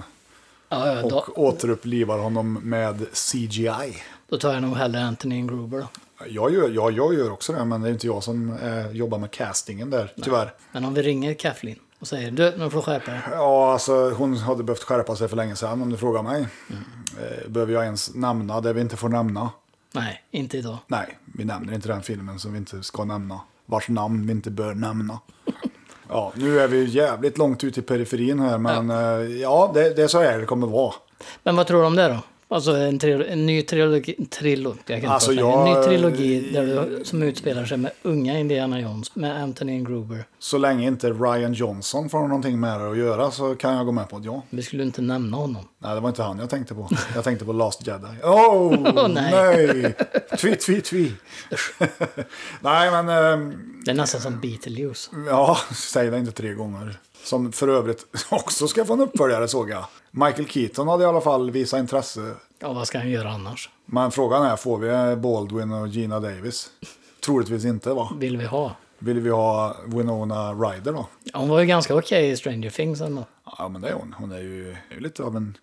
S2: Ja, ja,
S1: och
S2: då,
S1: återupplivar honom med CGI.
S2: då tar jag nog hellre Anthony Ingruber då.
S1: Jag gör, ja, jag gör också det, men det är inte jag som eh, jobbar med castingen där, tyvärr.
S2: Men om vi ringer Kathleen och säger du, nu får du skärpa dig.
S1: Ja, alltså hon hade behövt skärpa sig för länge sedan om du frågar mig. Eh, Behöver jag ens nämna det vi inte får nämna?
S2: Nej, inte idag.
S1: Nej, vi nämner inte den filmen som vi inte ska nämna. Vars namn vi inte bör nämna. Ja, nu är vi ju jävligt långt ut i periferin här, men ja, ja det, det är så här det kommer vara.
S2: Men vad tror du om det då? Alltså en, trilo- en ny trilogi, trilo, jag kan inte
S1: Alltså,
S2: prata. en
S1: jag-
S2: ny trilogi där du, som utspelar sig med unga Indiana Jones, med Anthony Gruber.
S1: Så länge inte Ryan Johnson får någonting med det att göra så kan jag gå med på att ja.
S2: Vi skulle inte nämna honom.
S1: Nej, det var inte han jag tänkte på. Jag tänkte på Last Jedi. Oh,
S2: nej.
S1: nej! Tvi, tvi, tvi. nej, men... ehm,
S2: Det är nästan som Beetlejuice.
S1: Ja, säg det inte tre gånger. Som för övrigt också ska få en uppföljare såg jag. Michael Keaton hade i alla fall visat intresse.
S2: Ja, vad ska han göra annars?
S1: Men frågan är, får vi Baldwin och Gina Davis? Troligtvis inte va?
S2: Vill vi ha?
S1: Vill vi ha Winona Ryder då?
S2: Hon var ju ganska okej i Stranger Things ändå.
S1: Ja, men det är hon. Hon är ju, är ju lite av en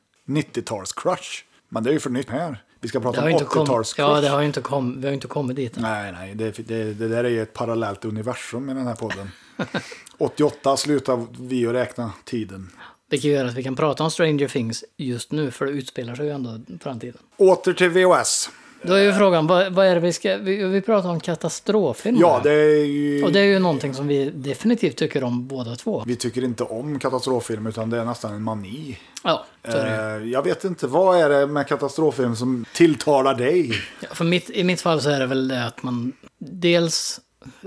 S1: 90-tals-crush. Men det är ju för nytt här. Vi ska
S2: Det
S1: prata
S2: har
S1: om
S2: ju inte kommit,
S1: 80-tals-crush.
S2: ja, det har ju inte kommit, vi har ju inte kommit dit än.
S1: Nej, nej, det, det, det där är ju ett parallellt universum i den här podden. 88 slutar vi att räkna tiden.
S2: Vilket gör att vi kan prata om Stranger Things just nu, för det utspelar sig ju ändå i framtiden.
S1: Åter till VOS.
S2: Då är ju frågan, vad, vad är det vi ska... Vi, vi pratar om katastroffilmer.
S1: Ja, det är ju...
S2: Mm. Och det är ju någonting som vi definitivt tycker om båda två.
S1: Vi tycker inte om katastroffilm, utan det är nästan en mani.
S2: Ja, så är det ju.
S1: Eh, jag vet inte, vad är det med katastroffilm som tilltalar dig?
S2: Ja, för mitt, I mitt fall så är det väl det att man dels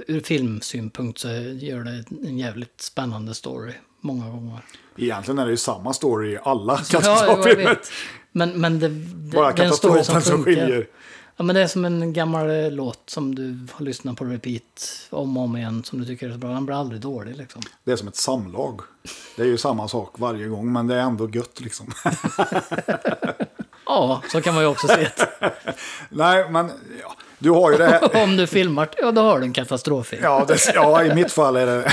S2: ur filmsynpunkt så gör det en jävligt spännande story många gånger.
S1: Egentligen är det ju samma story i alla
S2: Ja, jag
S1: katastroffilmer.
S2: vet. Men, men det, det,
S1: Bara
S2: det är en story som,
S1: katastrofen som
S2: funkar.
S1: skiljer.
S2: Ja, men det är som en gammal eh, låt som du har lyssnat på repeat om och om igen som du tycker är så bra. Den blir aldrig dålig liksom.
S1: Det är som ett samlag. Det är ju samma sak varje gång, men det är ändå gött liksom.
S2: Ja, så kan man ju också se det.
S1: Nej, men ja, du har ju det här.
S2: Om du filmar, ja då har du en katastroffilm.
S1: Ja, det, ja, i mitt fall är det...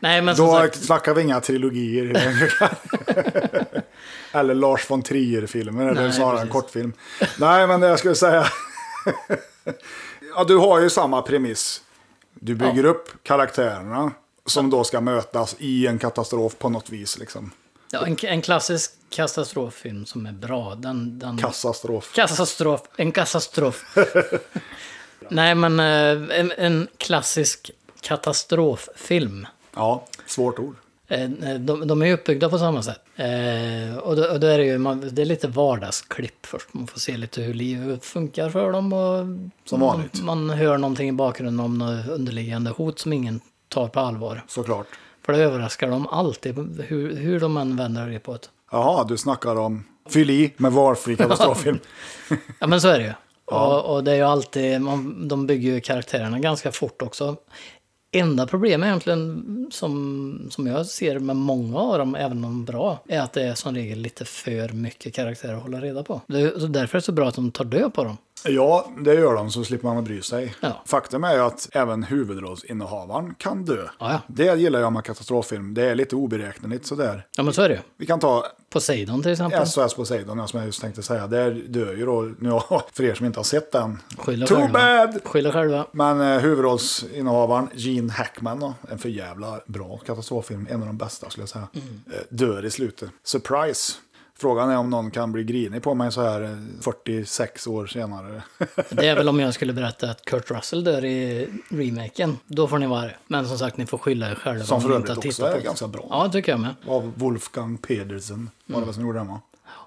S2: Nej, men som
S1: Då
S2: sagt,
S1: snackar vi inga trilogier. eller Lars von Trier-filmer, eller
S2: Nej,
S1: snarare en
S2: precis.
S1: kortfilm. Nej, men det jag skulle säga... ja, du har ju samma premiss. Du bygger upp karaktärerna som då ska mötas i en katastrof på något vis. Liksom.
S2: ja, en, en klassisk katastroffilm som är bra, den... den
S1: Katastrof.
S2: Katastrof, en katastrof. Nej, men eh, en, en klassisk katastroffilm.
S1: Ja, svårt ord.
S2: Eh, De, de är ju uppbyggda på samma sätt. Eh, och då, och då är det ju man, det är lite vardagsklipp först. Man får se lite hur livet funkar för dem. Och
S1: Som vanligt.
S2: Man, man hör någonting i bakgrunden om något underliggande hot som ingen tar på allvar.
S1: Såklart.
S2: För det överraskar dem alltid hur, hur de än vänder det på ett.
S1: Jaha, du snackar om fyll i med valfri katastroffilm.
S2: Ja men så är det ju. Och, och det är ju alltid, man, de bygger ju karaktärerna ganska fort också. Enda problemet egentligen som, som jag ser med många av dem, även de bra, är att det är som regel lite för mycket karaktärer att hålla reda på. Det, så därför är det så bra att de tar död på dem.
S1: Ja, det gör de så slipper man bry sig.
S2: Ja.
S1: Faktum är ju att även huvudrollsinnehavaren kan dö.
S2: Ja, ja.
S1: Det gillar jag med katastroffilm. Det är lite oberäkneligt sådär.
S2: Ja men så är det ju.
S1: Vi kan ta
S2: Poseidon till exempel.
S1: SOS Poseidon, som jag just tänkte säga. Där dör ju då, nu, för er som inte har sett den,
S2: Skyll er
S1: Too
S2: själva.
S1: bad!
S2: Skyll er själva.
S1: Men eh, huvudrollsinnehavaren Gene Hackman, då, en för jävla bra katastroffilm, en av de bästa skulle jag säga,
S2: Mm.
S1: eh, dör i slutet. Surprise! Frågan är om någon kan bli grinig på mig så här eh, 46 år senare.
S2: Det är väl om jag skulle berätta att Kurt Russell dör i remaken. Då får ni vara det. Men som sagt, ni får skylla er själva.
S1: Som
S2: om
S1: för
S2: ni inte
S1: övrigt
S2: har
S1: också
S2: tittat
S1: är
S2: på det.
S1: ganska bra.
S2: Ja, tycker jag med.
S1: Av Wolfgang Pedersen var det väl som gjorde den va?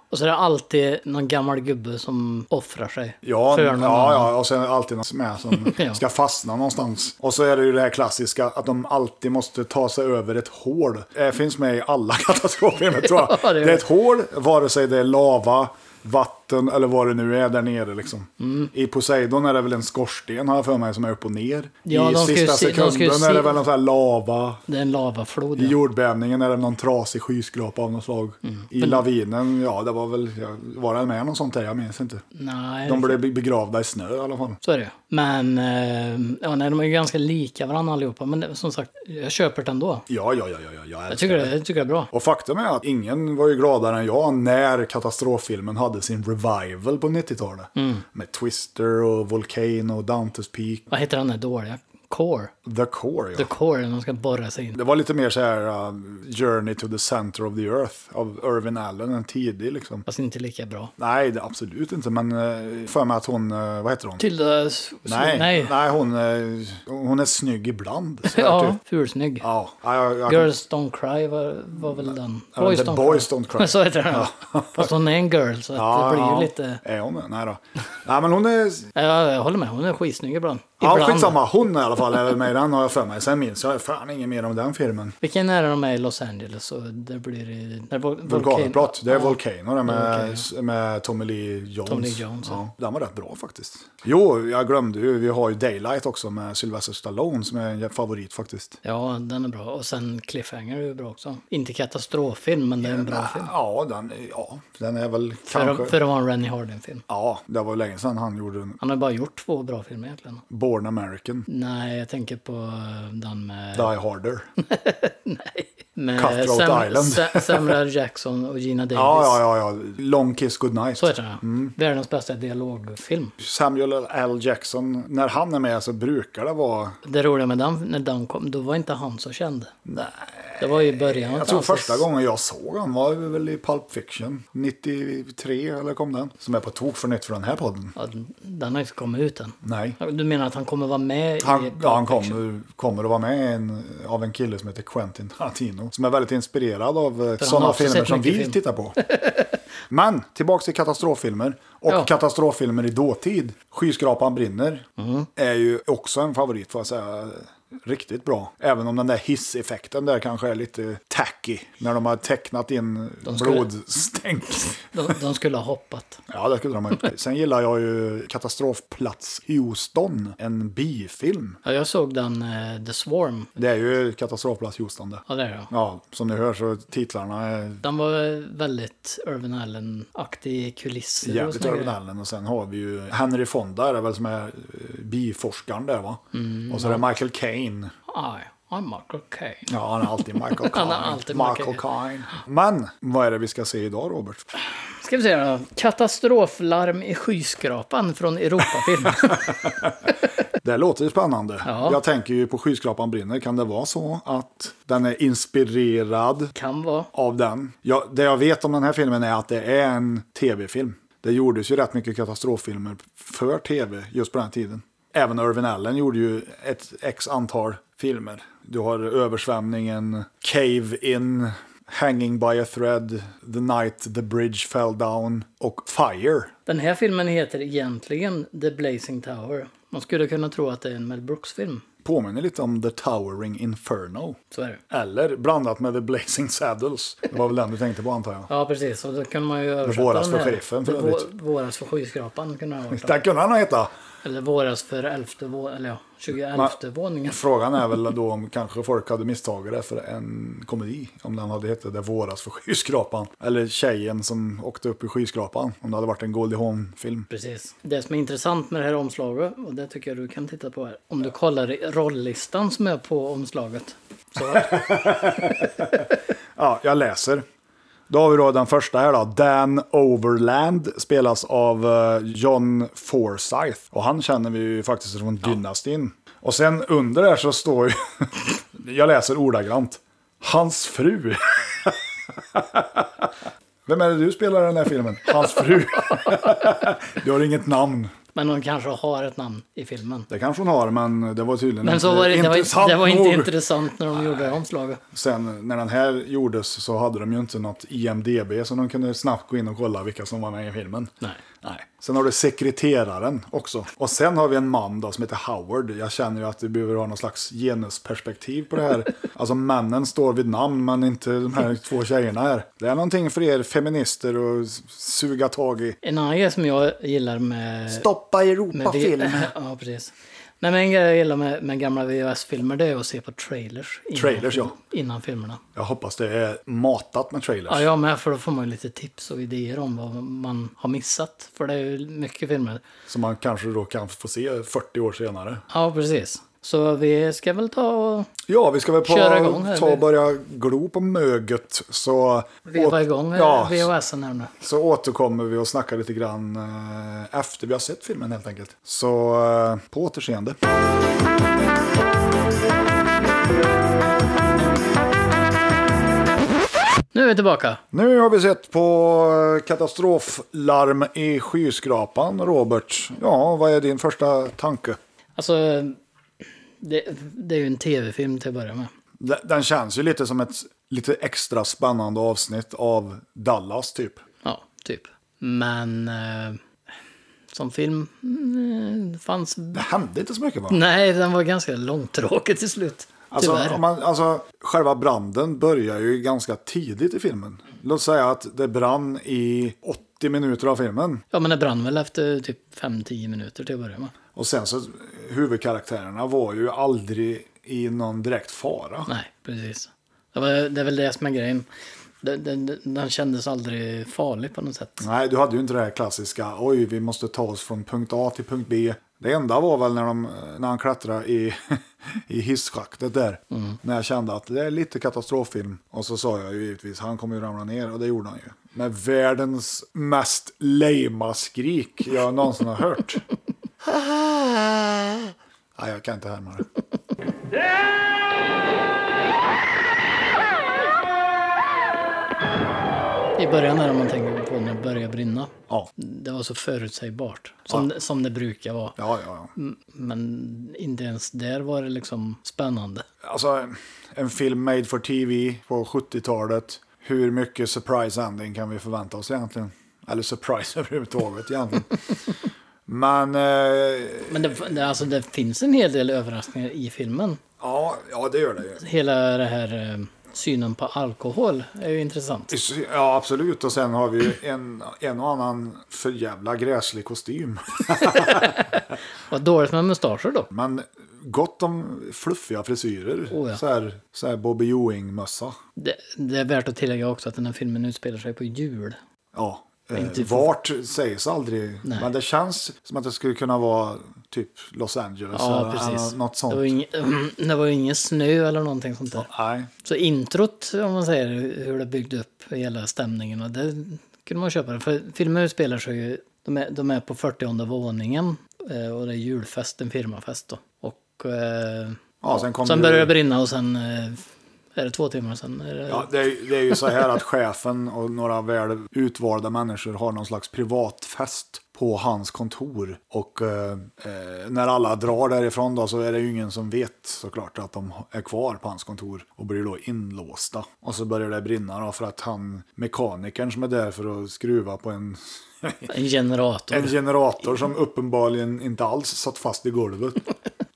S2: Och så är det alltid någon gammal gubbe som offrar sig.
S1: Ja,
S2: för
S1: ja,
S2: någon annan.
S1: ja, och sen är det alltid någon med som
S2: Ja.
S1: ska fastna någonstans. Och så är det ju det här klassiska att de alltid måste ta sig över ett hål. Det finns med i alla katastroffilmer tror jag.
S2: Ja, det
S1: det,
S2: är
S1: är ett hål, vare sig det är lava, vatten eller vad det nu är där nere. Liksom.
S2: Mm.
S1: I Poseidon är det väl en skorsten har jag för mig som är upp och ner.
S2: Ja,
S1: I
S2: de ska ju
S1: sista
S2: se- de ska ju
S1: sekunden är
S2: se-
S1: det väl någon sån här lava.
S2: Det är en lavaflod.
S1: I
S2: Ja.
S1: jordbävningen är det någon trasig skyskrapa av något slag. I lavinen, ja det var väl, jag- var det med något sånt där? Jag minns inte.
S2: Nej,
S1: De blev begravda i snö i alla fall.
S2: så är det ju. Men eh, ja, nej, de är ju ganska lika varandra allihopa. Men det- som sagt, jag köper det ändå.
S1: Ja, ja, ja, ja, ja jag
S2: Jag
S1: älskar
S2: tycker
S1: det.
S2: det, jag tycker det är bra.
S1: Och faktum är att ingen var ju gladare än jag när katastroffilmen hade sin revival på 90-talet. Med Twister och Volcano och Dantes Peak.
S2: Vad heter den där dåliga? Core.
S1: The Core, ja.
S2: The Core, de ska borra sig in.
S1: Det var lite mer så här uh, Journey to the Center of the Earth av Irvin Allen, en tidig liksom.
S2: Fast inte lika bra.
S1: Nej, det, absolut inte, men uh, för mig att hon, eh, vad heter hon?
S2: Tilda... S-
S1: Nej, nej.
S2: nej.
S1: hon, eh, hon är snygg ibland. Så här,
S2: Ja,
S1: typ.
S2: fulsnygg.
S1: ja. jag, jag,
S2: Girls Don't Cry var, var väl den?
S1: Ja, The Boys Don't Cry.
S2: så heter den. Fast hon är en girl, så att det blir ju lite...
S1: Är hon det? Nej då. Nej, men hon är...
S2: Ja, jag håller med. Hon är skitsnygg ibland.
S1: Ja,
S2: Ibland.
S1: skitsamma. Hon i alla fall är väl med i den har jag för mig. Sen minns jag fan inget mer om den filmen.
S2: Vilken är det de är i Los Angeles? Och där blir det... Där vol-
S1: Vulkanutbrott. Det är
S2: Ja.
S1: Volcano det med,
S2: Volcano.
S1: med Tommy Lee Jones.
S2: Tommy Lee Jones,
S1: ja. Den var rätt bra faktiskt. Jo, jag glömde ju. Vi har ju Daylight också med Sylvester Stallone som är en favorit faktiskt.
S2: Ja, den är bra. Och sen Cliffhanger är ju bra också. Inte katastroffilm, men det är en bra film.
S1: Ja, den, ja, den är väl
S2: För,
S1: kanske...
S2: för det var en Rennie Hardin-film.
S1: Ja, det var länge sedan han gjorde en
S2: Han har bara gjort två bra filmer egentligen.
S1: Born American.
S2: Nej, jag tänker på eh, den med...
S1: Die Harder.
S2: med
S1: Cutthroat Island.
S2: Sa- Samuel L. Jackson och Gina Davis.
S1: Ja, ja, ja, ja. Long Kiss Goodnight.
S2: Så heter den.
S1: Mm.
S2: Världens bästa dialogfilm.
S1: Samuel L. Jackson, när han är med så brukar det vara...
S2: Det roliga med den, när den kom, då var inte han så känd. Nej. Det var ju i början.
S1: Jag tror första gången jag såg honom var väl i Pulp Fiction. 93 eller kom den. Som är på tok för nytt för den här podden.
S2: Ja, den har inte kommit ut än.
S1: Nej.
S2: Du menar att han kommer vara med i...
S1: Han, ja, han kommer, kommer att vara med i en, av en kille som heter Quentin Tarantino. Som är väldigt inspirerad av
S2: har
S1: sådana
S2: också
S1: filmer
S2: sett
S1: som vi
S2: mycket film.
S1: tittar på. Men tillbaka till katastroffilmer. Och
S2: Ja.
S1: katastroffilmer i dåtid. Skyskrapan brinner
S2: Mm.
S1: är ju också en favorit får jag säga. Riktigt bra. Även om den där hisseffekten där kanske är lite tacky. När de har tecknat in
S2: skulle-
S1: blodstänk.
S2: De, de skulle ha hoppat.
S1: Ja, det skulle de ha gjort. Sen gillar jag ju Katastrofplats Houston. En bifilm.
S2: Ja, jag såg den eh, The Swarm.
S1: Det är ju Katastrofplats Houston det.
S2: Ja, det är det.
S1: Ja, som ni hör så titlarna är
S2: Den var väldigt Urban Allen-aktig kulisser och
S1: jävligt
S2: såna
S1: över
S2: grejer.
S1: nallen. Och sen har vi ju Henry Fonda är det väl som är eh, biforskaren där va?
S2: Mm,
S1: och så är det Michael Caine.
S2: Aj, I'm Michael Caine.
S1: Ja, han är alltid Michael Caine.
S2: Han är alltid
S1: Michael
S2: Michael
S1: Caine. Men, vad är det vi ska se idag Robert?
S2: Ska vi se då. Katastroflarm i skyskrapan från Europafilm.
S1: Det låter ju spännande.
S2: Ja.
S1: Jag tänker ju på Skyskrapan brinner. Kan det vara så att den är inspirerad
S2: kan vara.
S1: av den. Ja, det jag vet om den här filmen är att det är en tv-film. Det gjordes ju rätt mycket katastroffilmer för tv just på den här tiden. Även Irvin Allen gjorde ju ett x antal filmer. Du har översvämningen, Cave In, Hanging By A Thread, The Night The Bridge Fell Down och Fire.
S2: Den här filmen heter egentligen The Blazing Tower. Man skulle kunna tro att det är en Mel Brooks-film.
S1: Påminner lite om The Towering Inferno.
S2: Så är det.
S1: Eller blandat med The Blazing Saddles. Det var väl den du tänkte på antar jag.
S2: Ja, precis. Och då kan man ju översätta
S1: våras
S2: den
S1: för
S2: här.
S1: chefen, för
S2: Det
S1: övrigt.
S2: vå- Våras för skyskrapan kunde det ha varit.
S1: Den kunde han ha hetat.
S2: Eller våras för elfte våningen, eller ja, tjugoelfte våningen.
S1: Frågan är väl då om kanske folk hade misstagit det för en komedi. Om den hade hetat Det våras för skyskrapan. Eller Tjejen som åkte upp i skyskrapan. Om det hade varit en Goldie Hawn-film.
S2: Precis. Det som är intressant med det här omslaget, och det tycker jag du kan titta på här. Om du kollar i rolllistan som är på omslaget. Så,
S1: Ja, jag läser. Då har vi då den första här då. Dan Overland spelas av eh, John Forsyth. Och han känner vi ju faktiskt från Dynastin. Och sen under där så står ju... jag läser ordagrant. Hans fru. Vem är det du spelar i den här filmen? Hans fru. du har inget namn.
S2: men hon kanske har ett namn i filmen.
S1: Det kanske hon har, men det var tydligen
S2: Men så var det, det, var, det var inte
S1: nog.
S2: intressant när de gjorde det omslaget.
S1: Sen när den här gjordes så hade de ju inte något IMDB så de kunde snabbt gå in och kolla vilka som var med i filmen.
S2: Nej.
S1: Nej. Sen har du sekreteraren också. Och sen har vi en man då som heter Howard. Jag känner ju att vi behöver ha någon slags genusperspektiv på det här. alltså männen står vid namn men inte de här två tjejerna här. Det är någonting för er feminister att s- suga tag i.
S2: En annan grej som jag gillar med...
S1: Stoppa
S2: med vi-
S1: Europafilm.
S2: ja, precis. Nej, men en grej jag gillar med, med gamla VHS-filmer det är att se på trailers. Innan,
S1: Trailers, ja.
S2: Innan filmerna.
S1: Jag hoppas det är matat med trailers.
S2: Ja, jag med, för då får man ju lite tips och idéer om vad man har missat. För det är ju mycket filmer.
S1: Som man kanske då kan få se 40 år senare.
S2: Ja, precis. Så vi ska väl ta och
S1: Ja, vi ska väl på,
S2: Köra igång här.
S1: ta och börja glo på möget. Så,
S2: veva
S1: åt-
S2: igång eh,
S1: ja,
S2: ja. VHSen här nu.
S1: så återkommer vi och snackar lite grann eh, efter vi har sett filmen helt enkelt. Så eh, på återseende.
S2: Nu är vi tillbaka.
S1: Nu har vi sett på eh, katastroflarm i skyskrapan, Robert. Ja, vad är din första tanke?
S2: Alltså, det, det är ju en tv-film till att börja med.
S1: Den- Den känns ju lite som ett lite extra spännande avsnitt av Dallas typ.
S2: Ja, typ. Men eh, som film mm, fanns...
S1: Det hände inte så mycket va?
S2: Nej, den var ganska långtråkig till slut.
S1: Alltså,
S2: Tyvärr.
S1: om man, alltså, själva branden börjar ju ganska tidigt i filmen. Låt säga att det brann i 80 minuter av filmen.
S2: Ja, men det brann väl efter typ 5-10 minuter till att börja med.
S1: Och sen så, huvudkaraktärerna var ju aldrig i någon direkt fara.
S2: Nej, precis. Det, var, det är väl det som är grejen. Den, den, den kändes aldrig farlig på något sätt.
S1: Nej, du hade ju inte det här klassiska, oj, vi måste ta oss från punkt A till punkt B. Det enda var väl när, de, när han klättrade i, i hisschaktet där. När jag kände att det är lite katastroffilm. Och så sa jag ju givetvis, han kommer ju ramla ner och det gjorde han ju. Med världens mest lame skrik jag någonsin har hört. Nej, jag kan inte härma det.
S2: I början när man tänker på när det börjar brinna.
S1: Ja,
S2: Det var så förutsägbart. Som, som det brukar vara.
S1: ja, ja. ja.
S2: Men inte ens där var det liksom spännande.
S1: Alltså, en film made for TV på 70-talet. Hur mycket surprise ending kan vi förvänta oss egentligen? Eller surprise överhuvudtaget egentligen. Men eh,
S2: Men det, det, alltså, det finns en hel del överraskningar i filmen.
S1: ja, ja, det gör det ju.
S2: Hela det här eh, synen på alkohol är ju intressant.
S1: Ja, absolut. Och sen har vi ju en, en och annan för jävla gräslig kostym.
S2: Vad dåligt med mustascher då.
S1: Men gott om fluffiga frisyrer.
S2: Oh ja.
S1: så, här, så här Bobby Ewing-mössa.
S2: Det, det är värt att tillägga också att den här filmen utspelar sig på jul.
S1: Ja. eh,
S2: Inte för-
S1: Vart sägs aldrig.
S2: Nej.
S1: Men det känns som att det skulle kunna vara typ Los Angeles.
S2: Ja,
S1: eller
S2: precis.
S1: eller Något sånt.
S2: Det var, ing, det var ju ingen snö eller någonting sånt där.
S1: Nej.
S2: Så introt, om man säger hur det byggde upp hela stämningen, och det kunde man köpa. För filmen utspelar sig ju, de är, de är på 40 våningen eh, och det är julfest, en firmafest då. Och eh,
S1: Ja, sen kom
S2: sen
S1: ju-
S2: börjar det brinna och sen eh, är det två timmar sen. Är det,
S1: Ja, det, är, det är ju så här att chefen och några väl utvalda människor har någon slags privatfest på hans kontor. Och eh, eh, när alla drar därifrån då så är det ju ingen som vet såklart att de är kvar på hans kontor och blir då inlåsta. Och så börjar det brinna då för att han, mekanikern som är där för att skruva på en,
S2: En generator.
S1: en generator som uppenbarligen inte alls satt fast i golvet.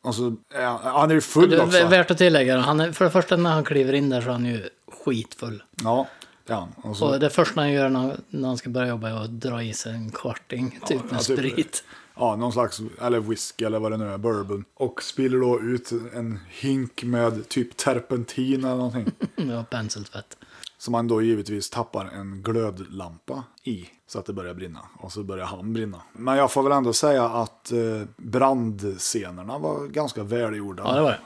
S1: Och så, ja, han är ju
S2: Det
S1: full
S2: är vä-
S1: också.
S2: värt att tillägga, då. han är, för det första när han kliver in där så är han ju skitfull.
S1: Ja, det är han. Och så
S2: Och det första han gör när, när han ska börja jobba är att dra i sig en kvarting, typ med
S1: ja, typ.
S2: sprit.
S1: Ja, någon slags, eller whisky eller vad det nu är, bourbon. Och spiller då ut en hink med typ terpentin eller någonting.
S2: Ja, penseltvätt.
S1: som man då givetvis tappar en glödlampa i. Så att det börjar brinna. Och så börjar han brinna. Men jag får väl ändå säga att eh, brandscenerna var ganska välgjorda.
S2: Ja, det var det.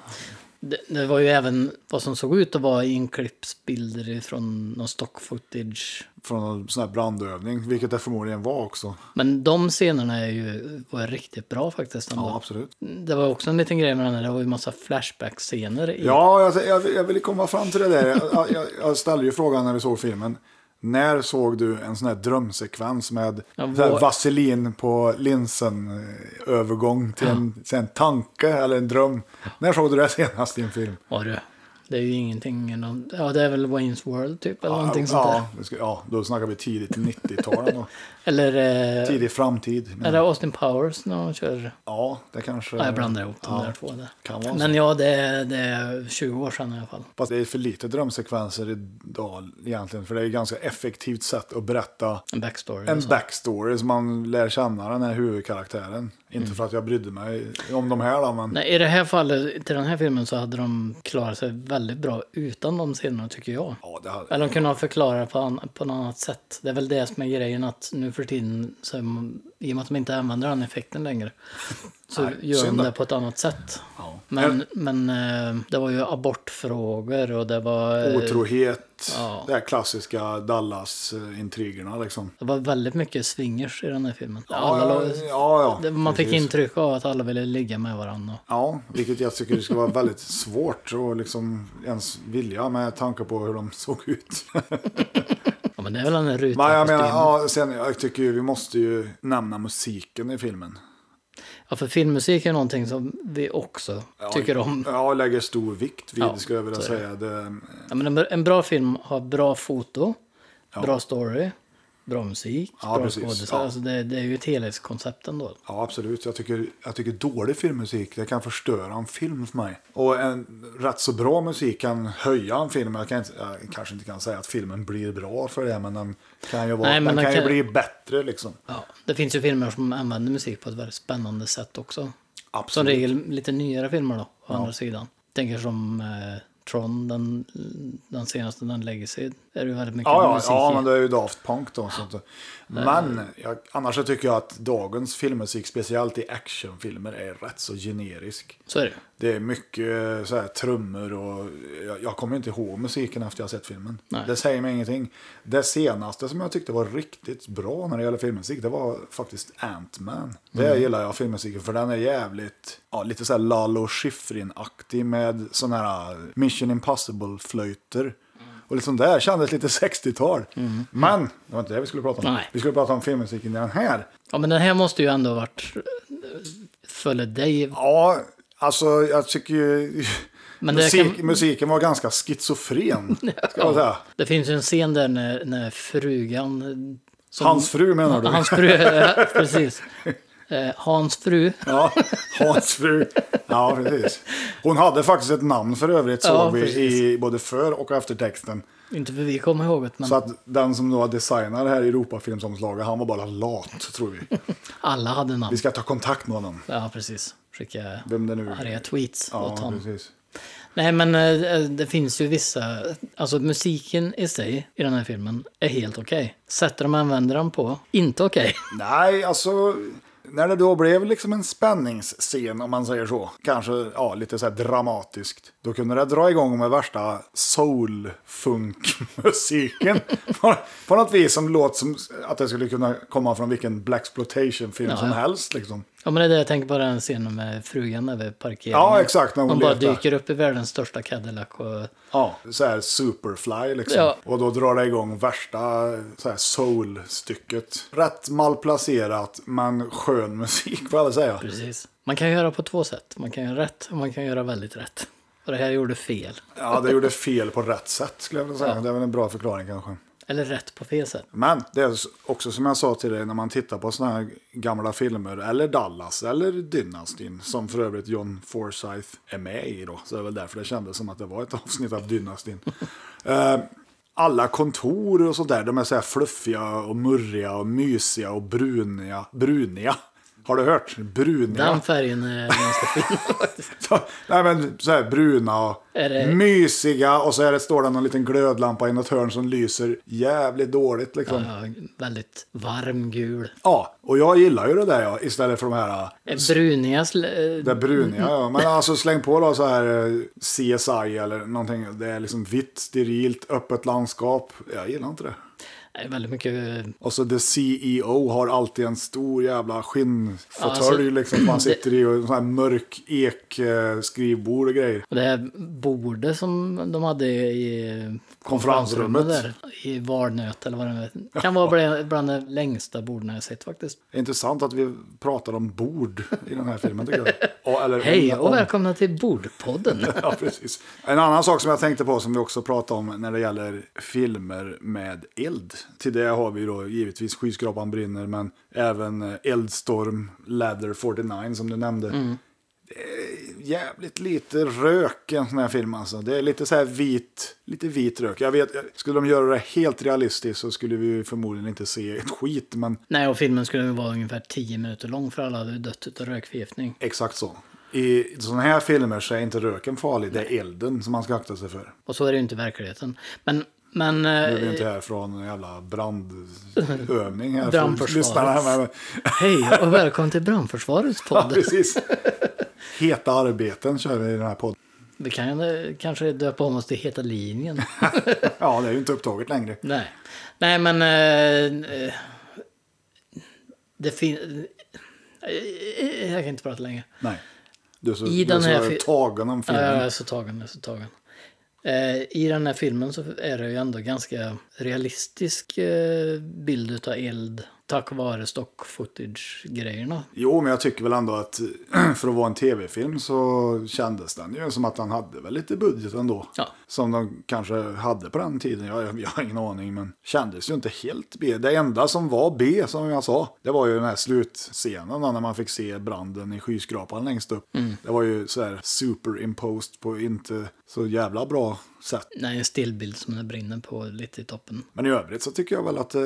S2: det. Det var ju även vad som såg ut att vara inklippsbilder från någon stock footage.
S1: Från en sån här brandövning, vilket det förmodligen var också.
S2: Men de scenerna är ju, var riktigt bra faktiskt.
S1: Ja,
S2: ändå.
S1: absolut.
S2: Det var också en liten grej med den här, det var ju massa flashback-scener. i-
S1: Ja, jag, jag, jag ville komma fram till det där. Jag, jag, jag ställde ju frågan när vi såg filmen. När såg du en sån här drömsekvens med
S2: Ja,
S1: så här
S2: vår-
S1: vaselin på linsen eh, övergång till en, till en tanke eller en dröm? När såg du det senast i en film?
S2: Var det. Det är ju ingenting, någon- ja det är väl Wayne's World typ eller någonting sånt där.
S1: ja, vi ska- ja, då snackar vi tidigt 90-tal ändå.
S2: Eller, eh,
S1: Tidig framtid. Men,
S2: är det Austin Powers när han kör?
S1: ja, det kanske...
S2: Ja, jag blandar ihop de
S1: Eh, Ja,
S2: där två där.
S1: Kan vara
S2: Men
S1: så.
S2: ja, det är, det är 20 år sedan i alla fall.
S1: Fast det är för lite drömsekvenser idag egentligen. För det är ett ganska effektivt sätt att berätta
S2: En backstory. och
S1: En
S2: så.
S1: backstory som man lär känna den här huvudkaraktären. Inte för att jag brydde mig om de här då, men
S2: Mm. Nej, i det här fallet, till den här filmen, så hade de klarat sig väldigt bra utan de scenerna, tycker jag.
S1: ja, det hade...
S2: Eller de kunde ha förklarat på, an- på något annat sätt. Det är väl det som är grejen, att nu för tiden, så är man, i och med att de inte använder den effekten längre, så
S1: Nej,
S2: gör de
S1: synd
S2: det
S1: då.
S2: på ett annat sätt.
S1: ja.
S2: Men, men eh, det var ju abortfrågor och det var... eh,
S1: Otrohet,
S2: ja.
S1: det här klassiska Dallas-intrigerna liksom.
S2: Det var väldigt mycket swingers i den här filmen. Alla,
S1: Ja,
S2: låg-
S1: ja, ja.
S2: det- man fick
S1: precis.
S2: intryck av att alla ville ligga med varandra.
S1: Ja, vilket jag tycker skulle vara väldigt svårt att liksom ens vilja med tanke på hur de såg ut.
S2: Ja, men det är väl en ruta
S1: Men jag
S2: på
S1: menar,
S2: sten.
S1: ja, sen, jag tycker ju vi måste ju nämna musiken i filmen.
S2: Ja, för filmmusik är någonting som vi också tycker om.
S1: Ja, lägger stor vikt vid,
S2: Ja,
S1: skulle jag vilja
S2: så är
S1: säga. Det,
S2: Ja, men en- en bra film har bra foto, bra story, bra musik,
S1: Ja,
S2: bra
S1: precis.
S2: skådespelare.
S1: Ja.
S2: Alltså det, det är ju ett helhetskoncept ändå.
S1: Ja, absolut. Jag tycker, jag tycker dålig filmmusik det kan förstöra en film för mig. Och en rätt så bra musik kan höja en film. Jag, kan inte, jag kanske inte kan säga att filmen blir bra för det, men den kan ju, vara,
S2: Nej,
S1: den
S2: men den
S1: kan ju
S2: kan-
S1: bli bättre. Liksom.
S2: Ja, det finns ju filmer som använder musik på ett väldigt spännande sätt också. Som
S1: Absolut.
S2: regel lite nyare filmer då, å andra sidan. Tänker som eh, Tron, den, den senaste, den Legacy, är det ju väldigt mycket
S1: Ja, ja,
S2: musik
S1: ja,
S2: i.
S1: men det är ju Daft Punk då. Så att, men jag, annars så tycker jag att dagens filmmusik, speciellt i actionfilmer, är rätt så generisk.
S2: Så är det.
S1: Det är mycket eh, så här, trummor och jag, jag kommer inte ihåg musiken efter jag har sett filmen.
S2: Nej.
S1: Det säger mig ingenting. Det senaste som jag tyckte var riktigt bra när det gäller filmmusik, det var faktiskt Ant-Man. Det
S2: Mm.
S1: gillar jag filmmusiken för den är jävligt, ja, lite så här Lalo Schifrin-aktig med sådana här eh, Mission Impossible-flöjter. Och liksom där kändes lite 60-tal. Men det var inte det vi skulle prata om.
S2: Mm. Nej.
S1: Vi skulle prata om filmmusiken i den här.
S2: Ja, men den här måste ju ändå ha varit... eh, Följer dig.
S1: Ja, alltså jag tycker ju...
S2: Men det,
S1: Musik,
S2: kan,
S1: Musiken var ganska schizofren. Ska jag säga.
S2: det finns ju en scen där när, när frugan... eh, som-
S1: Hans fru menar du?
S2: Hans fru, eh, precis. Eh, Hans fru.
S1: Ja, hans fru. Ja, precis. Hon hade faktiskt ett namn för övrigt såg
S2: Ja,
S1: vi
S2: precis.
S1: i både för och eftertexten.
S2: Inte för vi kommer ihåg det, men
S1: Så att den som då designar det här Europafilmsomslaget, han var bara lat tror vi.
S2: alla hade
S1: Vi
S2: namn.
S1: ska ta kontakt med honom.
S2: Ja, precis. Skicka
S1: Vem det nu
S2: arga tweets åt
S1: Ja,
S2: honom.
S1: precis.
S2: Nej, men eh, det finns ju vissa... Alltså musiken i sig i den här filmen är helt okej. Sättet de använder den på, inte okej.
S1: Nej, alltså... När det då blev liksom en spänningsscen, om man säger så, kanske ja, lite så här dramatiskt, då kunde det dra igång med värsta soul-funk-musiken. på, på något vis som låter som att det skulle kunna komma från vilken Blaxploitation-film
S2: Ja,
S1: som
S2: ja.
S1: helst. Liksom.
S2: Ja, men det är det jag tänker på den scenen med frugan där vid parkeringen.
S1: Ja, exakt, när hon
S2: Hon bara
S1: letar.
S2: dyker upp i världens största Cadillac och...
S1: Ja, så här superfly liksom.
S2: Ja.
S1: Och då drar det igång värsta så här soul-stycket. Rätt malplacerat, men skön musik får jag väl säga.
S2: Precis. Man kan göra på två sätt. Man kan göra rätt och man kan göra väldigt rätt. Och det här gjorde fel.
S1: Ja, det gjorde fel på rätt sätt skulle jag vilja säga.
S2: Ja.
S1: Det är väl en bra förklaring kanske.
S2: Eller rätt på fel sätt.
S1: Men det är också som jag sa till dig när man tittar på sådana här gamla filmer, eller Dallas, eller Dynastin, som för övrigt John Forsyth är med i då. Så det är väl därför det kändes som att det var ett avsnitt av Dynastin. Eh, alla kontor och sånt där, de är så här fluffiga och murriga och mysiga och bruniga. Bruniga. Har du hört? Bruniga.
S2: Den färgen är ganska fin.
S1: Så, nej men så här bruna och
S2: Är det-
S1: mysiga och så är det, står det någon liten glödlampa i något hörn som lyser jävligt dåligt liksom. Ja,
S2: Ja, väldigt varm gul.
S1: och jag gillar ju det där ja, istället för de här äh,
S2: Eh, Bruniga... sl- eh,
S1: det bruniga. Ja. Men alltså släng på då så här eh, CSI eller någonting. Det är liksom vitt, sterilt, öppet landskap. Jag gillar inte det.
S2: är väldigt mycket... eh,
S1: Och så the CEO har alltid en stor jävla skinnfåtölj
S2: Ja, alltså-
S1: liksom. Man sitter i och en sån här mörk ek eh, skrivbord och grejer.
S2: Och det här bordet som de hade i
S1: Konferensrummet.
S2: där. I Varnöt eller vad det nu Kan vara bland- bland de längsta borden jag sett faktiskt.
S1: Intressant att vi pratar om bord i den här filmen tycker jag. Ja, eller om-
S2: Hej och
S1: om-
S2: välkomna till Bordpodden.
S1: Ja, precis. En annan sak som jag tänkte på som vi också pratade om när det gäller filmer med eld. Till det har vi då givetvis Skyskrapan brinner men även eh, Eldstorm, Ladder 49 som du nämnde.
S2: Mm.
S1: Det är jävligt lite rök i en sån här film alltså. Det är lite så här vit, lite vit rök. Jag vet, eh, skulle de göra det helt realistiskt så skulle vi ju förmodligen inte se ett skit men
S2: Nej, och filmen skulle ju vara ungefär 10 minuter lång för alla hade ju dött utav rökförgiftning.
S1: Exakt så. I sådana här filmer så är inte röken farlig, det är elden som man ska akta sig för.
S2: Och så är det ju inte i verkligheten. Men, men
S1: Nu är vi
S2: eh,
S1: inte här från en jävla brandövning här.
S2: Brandförsvaret.
S1: Lyssnarna här med,
S2: hej och välkommen till Brandförsvarets
S1: ja,
S2: podd.
S1: precis. Heta arbeten kör vi i den här podden.
S2: Vi kan eh, kanske döpa om oss till Heta linjen.
S1: Ja, det är ju inte upptaget längre.
S2: Nej, Nej men... eh, eh, det finns... Jag kan inte prata längre.
S1: Nej. Du är så,
S2: I
S1: du är
S2: den här
S1: så
S2: fi-
S1: tagen om
S2: Ja,
S1: filmen.
S2: jag är så tagen, jag är så tagen. Eh, I den här filmen så är det ju ändå ganska realistisk eh, bild utav eld tack vare stock footage-grejerna.
S1: Jo, men jag tycker väl ändå att för att vara en tv-film så kändes den ju som att han hade väl lite budget ändå.
S2: Ja.
S1: Som de kanske hade på den tiden, jag, jag har ingen aning, men kändes ju inte helt B. Det enda som var B, som jag sa, det var ju den här slutscenen då, när man fick se branden i skyskrapan längst upp.
S2: Mm.
S1: Det var ju så här superimposed på inte så jävla bra sätt.
S2: Nej, en stillbild som det brinner på lite i toppen.
S1: Men i övrigt så tycker jag väl att, eh,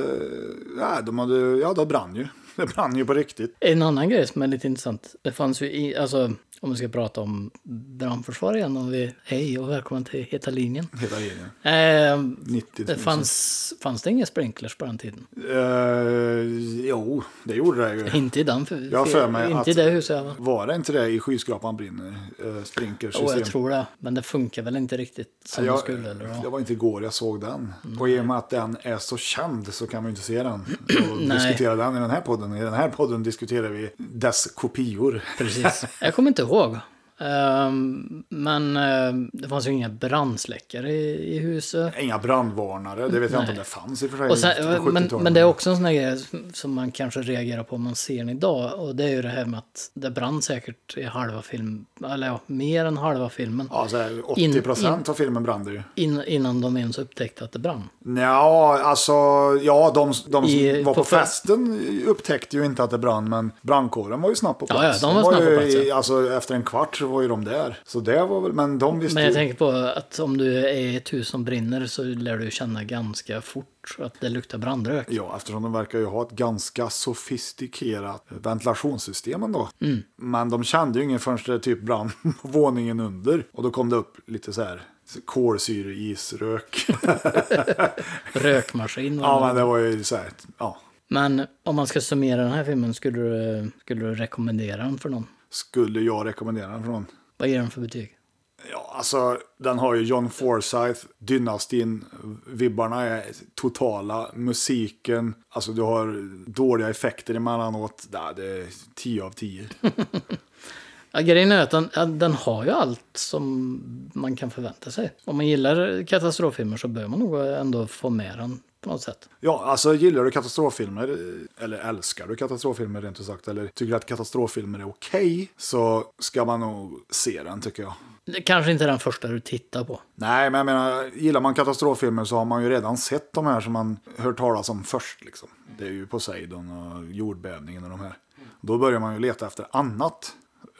S1: nej, de hade, ja, det brann ju. Det brann ju på riktigt.
S2: En annan grej som är lite intressant. Det fanns ju i, alltså Om vi ska prata om brandförsvar igen. Om vi, hej och välkommen till Heta linjen.
S1: Hela linjen.
S2: Eh,
S1: 90
S2: det
S1: 000.
S2: fanns, fanns det inga sprinklers på den tiden?
S1: Eh, jo, det gjorde det ju.
S2: Inte i den för,
S1: Jag har för mig
S2: Inte
S1: att-
S2: i det huset. va?
S1: Var det inte det i skyskrapan brinner? Uh, Sprinkersystem.
S2: Jo, jag tror det. Men det funkar väl inte riktigt som det
S1: jag,
S2: skulle. Eller? vad? Mm.
S1: jag var inte igår jag såg den. Och i och med att den är så känd så kan vi inte se den. Och diskutera den i den här podden. I den här podden diskuterar vi dess kopior.
S2: Precis. Jag kommer inte ihåg. Ehm, men ehm, det fanns ju inga brandsläckare i, i huset.
S1: Inga brandvarnare, det vet jag inte om det fanns i och för sig.
S2: Och
S1: på
S2: sen, men,
S1: 70-talet.
S2: men det är också en sån här grej som man kanske reagerar på om man ser den idag. Och det är ju det här med att det brann säkert i halva filmen, eller ja, mer än halva filmen.
S1: Ja, så här,
S2: In-
S1: 80 procent av filmen brann det ju.
S2: In, innan de ens upptäckte att det brann.
S1: Ja, alltså, ja, de, de som
S2: I-
S1: var på,
S2: på fe-
S1: festen upptäckte ju inte att det brann, men brandkåren var ju snabbt på
S2: Ja,
S1: plats.
S2: ja, de var snabbt på
S1: ju,
S2: plats, ja.
S1: Alltså, efter en kvart så var ju de där. Så det var väl, men de visste
S2: Men jag
S1: ju.
S2: tänker på att om du är i ett hus som brinner så lär du känna ganska fort att det luktar brandrök.
S1: Ja, eftersom de verkar ju ha ett ganska sofistikerat ventilationssystem ändå.
S2: Mm.
S1: Men de kände ju ingen förrän det typ brann på våningen under. Och då kom det upp lite så här kolsyreisrök.
S2: Rökmaskin. var
S1: ja,
S2: det.
S1: men det var ju så här, ja.
S2: Men om man ska summera den här filmen, skulle du, skulle du rekommendera den för någon?
S1: Skulle jag rekommendera den för någon?
S2: Vad ger den för betyg?
S1: Ja, alltså den har ju John Forsyth, dynastin, vibbarna är totala, musiken, alltså du har dåliga effekter emellanåt. Nej, det är 10 av 10.
S2: Ja, grejen är att den, ja, den har ju allt som man kan förvänta sig. Om man gillar katastroffilmer så bör man nog ändå få med den på något sätt.
S1: Ja, alltså gillar du katastroffilmer, eller älskar du katastroffilmer rent ut sagt, eller tycker att katastroffilmer är okej, så ska man nog se den tycker jag.
S2: Det Kanske inte är den första du tittar på.
S1: Nej, men jag menar, gillar man katastroffilmer så har man ju redan sett de här som man hört talas om först. Liksom. Det är ju Poseidon och jordbävningen och de här. Då börjar man ju leta efter annat,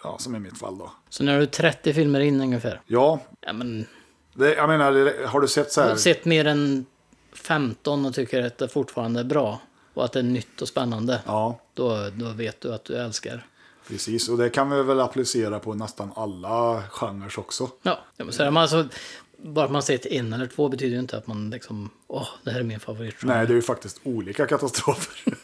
S1: ja, som i mitt fall då.
S2: Så när du är 30 filmer in ungefär.
S1: Ja,
S2: Ja, men,
S1: det, jag menar, det- har du sett så
S2: jag
S1: här?
S2: har sett mer än 15 och tycker att det fortfarande är bra och att det är nytt och spännande.
S1: Ja,
S2: Då, då vet du att du älskar.
S1: precis. Och det kan vi väl applicera på nästan alla genrer också.
S2: Ja, jag måste säga, men alltså, bara att man sett en eller två betyder ju inte att man liksom, åh, det här är min favorit.
S1: Nej, det är ju faktiskt olika katastrofer.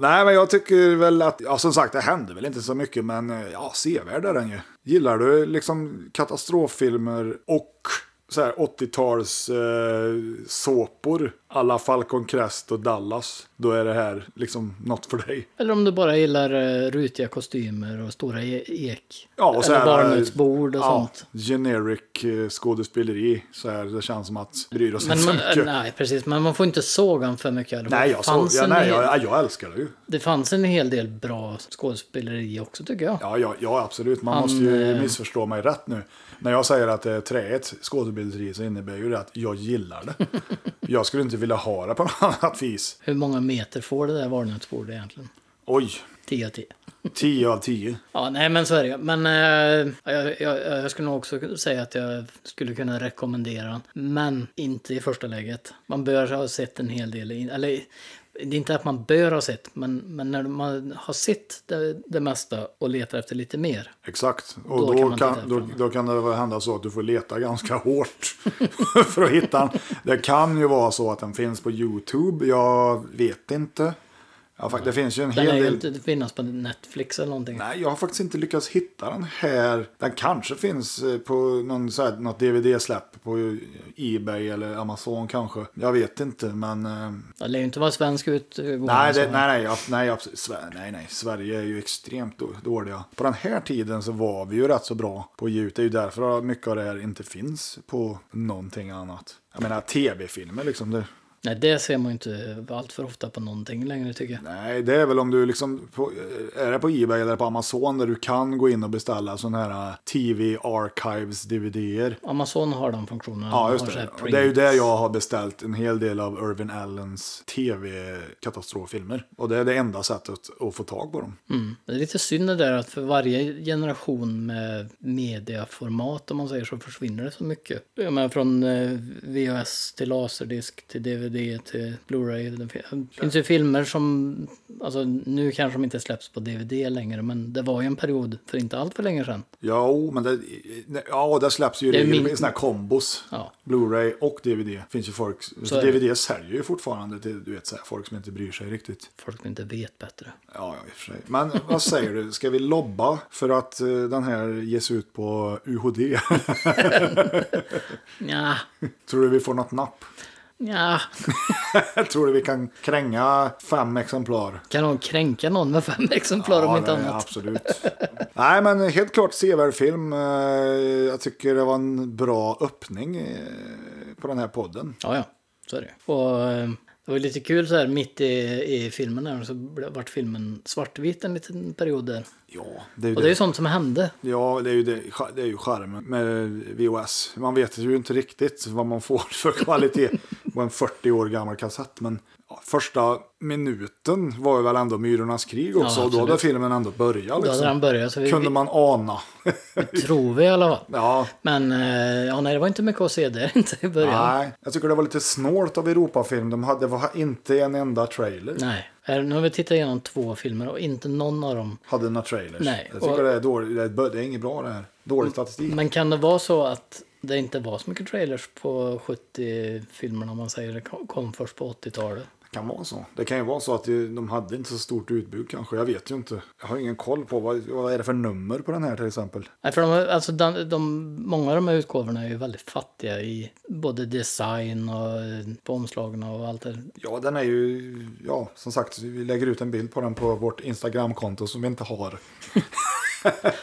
S1: Nej, men jag tycker väl att, ja som sagt, det händer väl inte så mycket, men eh, ja, sevärd är den ju. Gillar du liksom katastroffilmer och så här 80-tals eh, såpor, alla Falcon Crest och Dallas, då är det här liksom något för dig.
S2: Eller om du bara gillar eh, rutiga kostymer och stora e- ek.
S1: Ja, och så
S2: eller
S1: här, eh,
S2: barnutsbord och
S1: Ja,
S2: sånt.
S1: generic eh, skådespeleri, så här, det känns som att bryr oss
S2: Men äh,
S1: inte så
S2: man,
S1: mycket.
S2: nej, precis. Men man får inte såga honom för mycket. Det
S1: Nej, jag, såg,
S2: fanns
S1: ja,
S2: en
S1: nej
S2: hel,
S1: jag, jag älskar det ju.
S2: Det fanns en hel del bra skådespeleri också tycker jag.
S1: Ja, ja, ja absolut. Man
S2: Han,
S1: måste ju
S2: eh,
S1: missförstå mig rätt nu. När jag säger att det är träet skådespeleri så innebär ju det att jag gillar det. jag skulle inte vilja ha det på något annat vis.
S2: Hur många meter får det där barnutsbordet egentligen?
S1: Oj,
S2: 10 av 10.
S1: 10 av 10.
S2: Ja, nej men så är det ju. Men eh, jag, jag, jag skulle nog också säga att jag skulle kunna rekommendera den. Men inte i första läget. Man bör ha sett en hel del. In, eller det är inte att man bör ha sett, men, men när man har sett det, det mesta och letar efter lite mer.
S1: Exakt. Och
S2: Då
S1: då,
S2: kan
S1: kan,
S2: man titta
S1: då,
S2: ifrån.
S1: då kan det väl hända så att du får leta ganska hårt för att hitta den. Det kan ju vara så att den finns på YouTube. Jag vet inte. Ja, fakt- det finns ju en
S2: Den
S1: hel
S2: är ju
S1: del.
S2: inte finnas på Netflix eller någonting.
S1: Nej, jag har faktiskt inte lyckats hitta den här. Den kanske finns eh, på någon, så här, något DVD-släpp på Ebay eller Amazon kanske. Jag vet inte, men... eh,
S2: Det lär ju inte vara svensk utgåva.
S1: Nej, det,
S2: så.
S1: nej, nej, ja, nej, absolut, Sve- nej, nej, Sverige är ju extremt då- dåliga. På den här tiden så var vi ju rätt så bra på ljud. Det är ju därför mycket av det här inte finns på någonting annat. Jag menar, tv-filmer liksom. Det,
S2: nej, det ser man ju inte allt för ofta på någonting längre tycker jag.
S1: Nej, det är väl om du liksom, på, är det på Ebay eller på Amazon där du kan gå in och beställa sådana här TV Archives DVD-er.
S2: Amazon har den funktionen.
S1: Ja, just
S2: Har så här
S1: det. Och det är ju
S2: print.
S1: där jag har beställt en hel del av Irvin Allens TV-katastroffilmer. Och det är det enda sättet att få tag på dem.
S2: Mm. Det är lite synd det där att för varje generation med mediaformat om man säger så försvinner det så mycket. Jag menar från eh, VHS till laserdisk till DVD DVD till Blu-ray. Det finns ju filmer som, alltså nu kanske de inte släpps på DVD längre, men det var ju en period för inte allt för länge sedan.
S1: Jo, men det, eh, ja, det släpps ju
S2: Det är min-
S1: regelbundet sådana här kombos.
S2: Ja.
S1: Blu-ray och DVD. finns ju folk,
S2: Så är det.
S1: DVD säljer ju fortfarande till du vet, så här, folk som inte bryr sig riktigt.
S2: Folk som inte vet bättre.
S1: Ja, ja, i och för sig. Men vad säger du, ska vi lobba för att eh, den här ges ut på UHD?
S2: Ja,
S1: Tror du vi får något napp?
S2: ja.
S1: Tror du vi kan kränga fem exemplar?
S2: Kan någon kränka någon med fem exemplar om inte
S1: det-
S2: annat?
S1: Absolut. Nej, men helt klart sevärd film. Eh, Jag tycker det var en bra öppning eh, på den här podden.
S2: Ja, ja. Så är det Och eh, det var lite kul så här mitt i, i filmen där, så ble- vart filmen svartvit en liten period där.
S1: Ja, det är ju
S2: Och det är ju sånt som hände.
S1: Ja, det är ju, det, det är ju charmen med VHS. Man vet ju inte riktigt vad man får för kvalitet på en 40 år gammal kassett. Men ja, första minuten var ju väl ändå Myrornas krig också.
S2: Ja,
S1: och då hade
S2: absolut.
S1: filmen ändå börjat.
S2: Då hade
S1: Liksom.
S2: den börjat, så vi,
S1: Kunde man ana.
S2: vi tror vi i alla fall.
S1: ja,
S2: Men eh, ja, nej, det var inte mycket att se där inte i början.
S1: nej. Jag tycker det var lite snålt av Europafilm. De hade det var inte en enda trailer.
S2: Nej. Här, Nu har vi tittat igenom två filmer och inte någon av dem.
S1: Hade några trailers.
S2: Nej,
S1: jag tycker
S2: och-
S1: det, är dåligt, det, är, det är inget bra det här. Dålig statistik.
S2: Men kan det vara så att det inte var så mycket trailers på 70-filmerna om man säger det kom- kom först på 80-talet?
S1: Det kan vara så. Det kan ju vara så att det- de hade inte så stort utbud kanske. Jag vet ju inte. Jag har ingen koll på vad, vad är det för nummer på den här till exempel.
S2: Nej, för de, har- alltså, de, de, många av de här utgåvorna är ju väldigt fattiga i både design och eh, på omslagen och allt det
S1: Ja, den är ju, ja, som sagt, vi lägger ut en bild på den på vårt Instagramkonto som vi inte har.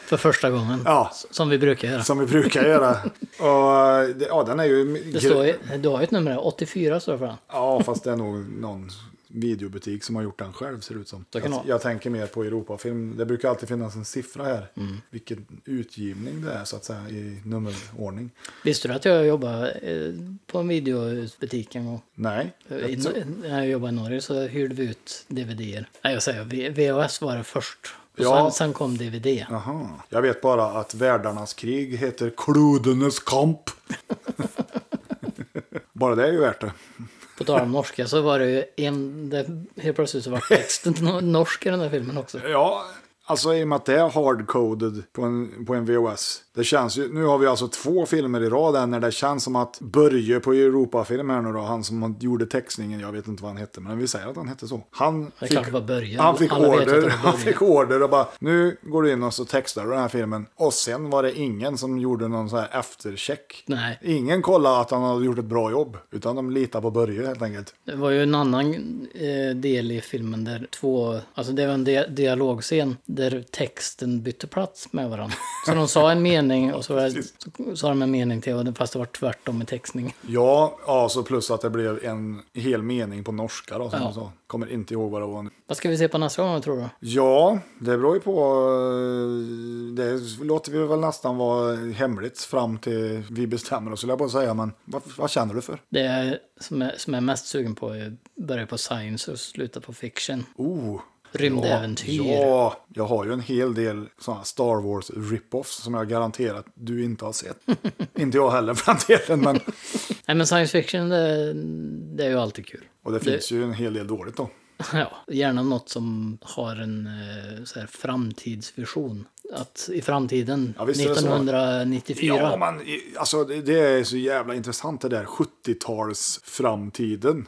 S2: För första gången.
S1: Ja,
S2: S- Som vi brukar göra.
S1: som vi brukar göra. Och, det, ja, den är ju...
S2: Det står ju, du har ju ett nummer här, 84 står det för den.
S1: Ja, fast det är nog någon videobutik som har gjort den själv ser det ut som.
S2: Så kan det
S1: jag,
S2: vara.
S1: jag tänker mer på Europafilm. Det brukar alltid finnas en siffra här.
S2: Mm.
S1: Vilken utgivning det är så att säga i nummerordning.
S2: Visste du att jag jobbade eh, på en videobutik en gång?
S1: Nej.
S2: I,
S1: Jag tror-
S2: när jag jobbade i Norge så hyrde vi ut DVD-er. Nej, jag säger V- VHS var det först. Och
S1: Ja.
S2: sen, sen kom DVD.
S1: Aha. Jag vet bara att världarnas krig heter klodernas kamp. bara det är ju värt det.
S2: På tal om norska så var det ju en... Det, helt plötsligt så var texten no- norsk i den här filmen också.
S1: Ja, alltså i och med att det är hardcoded på en, på en VHS. Det känns ju, nu har vi alltså två filmer i rad än när det känns som att Börje på Europafilm här nu då, han som gjorde textningen, jag vet inte vad han hette, men vi säger att han hette så. Han
S2: Det är
S1: fick,
S2: klart det var Börje.
S1: han fick
S2: Alla vet att det var
S1: order,
S2: Börje.
S1: han fick order och bara, nu går du in och så textar du den här filmen. Och sen var det ingen som gjorde någon så här eftercheck.
S2: Nej.
S1: Ingen kollade att han hade gjort ett bra jobb, utan de litar på Börje helt enkelt.
S2: Det var ju en annan eh, del i filmen där två, alltså det var en dia- dialogscen där texten bytte plats med varandra. Så de sa en mening och så, var det, så sa de en mening till och det- fast det var tvärtom i textningen.
S1: Ja, ja, så plus att det blev en hel mening på norska då, som
S2: Ja.
S1: du sa. Kommer inte ihåg vad det var nu.
S2: Vad ska vi se på nästa gång tror du?
S1: Ja, det beror ju på. eh, Det låter vi väl nästan vara hemligt fram till vi bestämmer oss, skulle jag bara säga. Men vad, vad känner du för?
S2: Det är, som, är, som jag är mest sugen på är att börja på science och sluta på fiction.
S1: Oh!
S2: Rymdäventyr.
S1: Ja, jag har ju en hel del sådana Star Wars rip-offs som jag garanterat du inte har sett. inte jag heller för den delen, men...
S2: Nej men science fiction det, det är ju alltid kul.
S1: Och det finns ju en hel del dåligt då.
S2: Ja, gärna något som har en eh, så här, framtidsvision. Att i framtiden,
S1: Ja, visst är det så.
S2: 1994.
S1: Ja, man, alltså, det det är så jävla intressant det där 70-talsframtiden.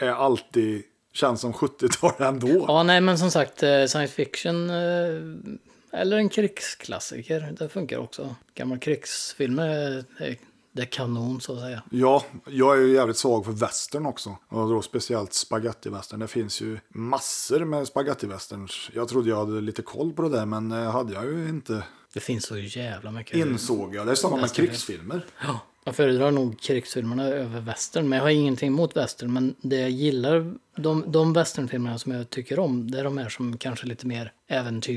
S1: Är alltid, känns som 70-tal ändå.
S2: Mm. Ja, nej, men som sagt, eh, science fiction eh, eller en krigsklassiker, det funkar också. Gamla krigsfilmer, eh, det är kanon så att säga.
S1: Ja, jag är ju jävligt svag för västern också. Och då speciellt spagettivästern. Det finns ju massor med spagettivästerns. Jag trodde jag hade lite koll på det där, men eh, hade jag ju inte.
S2: Det finns så jävla mycket.
S1: Insåg jag. Det är samma med krigsfilmer.
S2: Ja, jag föredrar nog krigsfilmerna över western, men jag har ingenting emot western. Men det jag gillar, de, de westernfilmerna som jag tycker om, det är de här som kanske är lite mer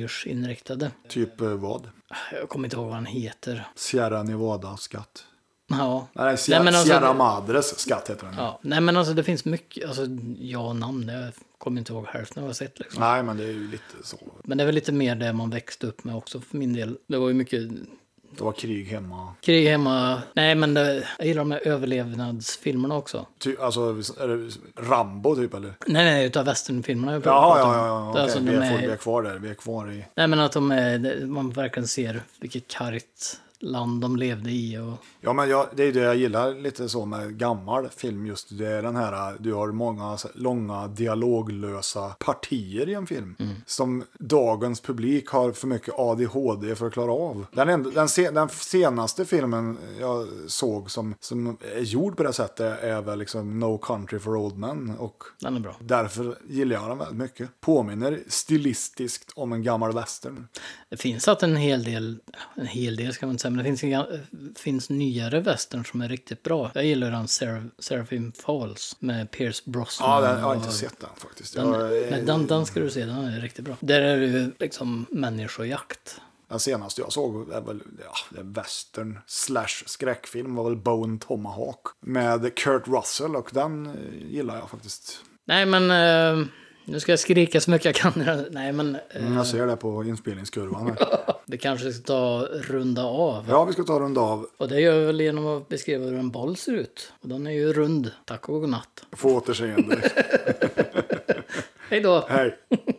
S2: äventyrsinriktade.
S1: Typ eh, vad?
S2: Jag kommer inte ihåg vad han heter.
S1: Sierra Nevada-skatt.
S2: Ja.
S1: Nej, Sierra,
S2: Nej, men alltså-
S1: Sierra Madres skatt heter den.
S2: Ja, nej men alltså det finns mycket, alltså ja och namn, jag kommer inte ihåg hälften av vad jag sett liksom.
S1: Nej, men det är ju lite så.
S2: Men det är väl lite mer det man växte upp med också för min del. Det var ju mycket
S1: Det var krig hemma.
S2: Krig hemma. Nej, men eh, jag gillar de här överlevnadsfilmerna också.
S1: Ty, alltså, är det Rambo typ eller?
S2: Nej, nej, utav westernfilmerna. jag
S1: Jaha,
S2: pratar om.
S1: ja, ja, ja.
S2: Det är
S1: Okej,
S2: alltså,
S1: vi,
S2: de
S1: är... vi
S2: är,
S1: är kvar där. Vi är kvar i...
S2: nej, men att de är, man verkligen ser vilket kargt land de levde i. Och,
S1: Ja, men jag, det är det jag gillar lite så med gammal film just. Det är den här, du har många så- långa dialoglösa partier i en film.
S2: Mm.
S1: Som dagens publik har för mycket ADHD för att klara av. Den, enda, den, se, den senaste filmen jag såg som, som är gjord på det sättet är väl liksom No Country for Old Men. Och
S2: den är bra.
S1: därför gillar jag den väldigt mycket. Påminner stilistiskt om en gammal western.
S2: Det finns att en hel del, en hel del ska man inte säga, men det finns, inga, finns nyare västern som är riktigt bra. Jag gillar den Seraph, Seraphim Falls med Pierce Brosnan.
S1: Ja, den, jag har
S2: och-
S1: inte sett den faktiskt.
S2: Den,
S1: jag, eh,
S2: men den, den ska du se, den är riktigt bra. Där är det ju liksom människojakt.
S1: Den senaste jag såg är väl ja, det är western slash skräckfilm var väl Bone Tomahawk med Kurt Russell och den eh, gillar jag faktiskt.
S2: Nej men, eh, nu ska jag skrika så mycket jag kan. i den. Nej men, eh,
S1: Jag ser det på inspelningskurvan. här.
S2: vi kanske ska ta runda av.
S1: Ja, vi ska ta en runda av.
S2: Och det gör vi väl genom att beskriva hur en boll ser ut. Och den är ju rund. Tack och godnatt.
S1: Få återseende.
S2: Hej då!
S1: Hej!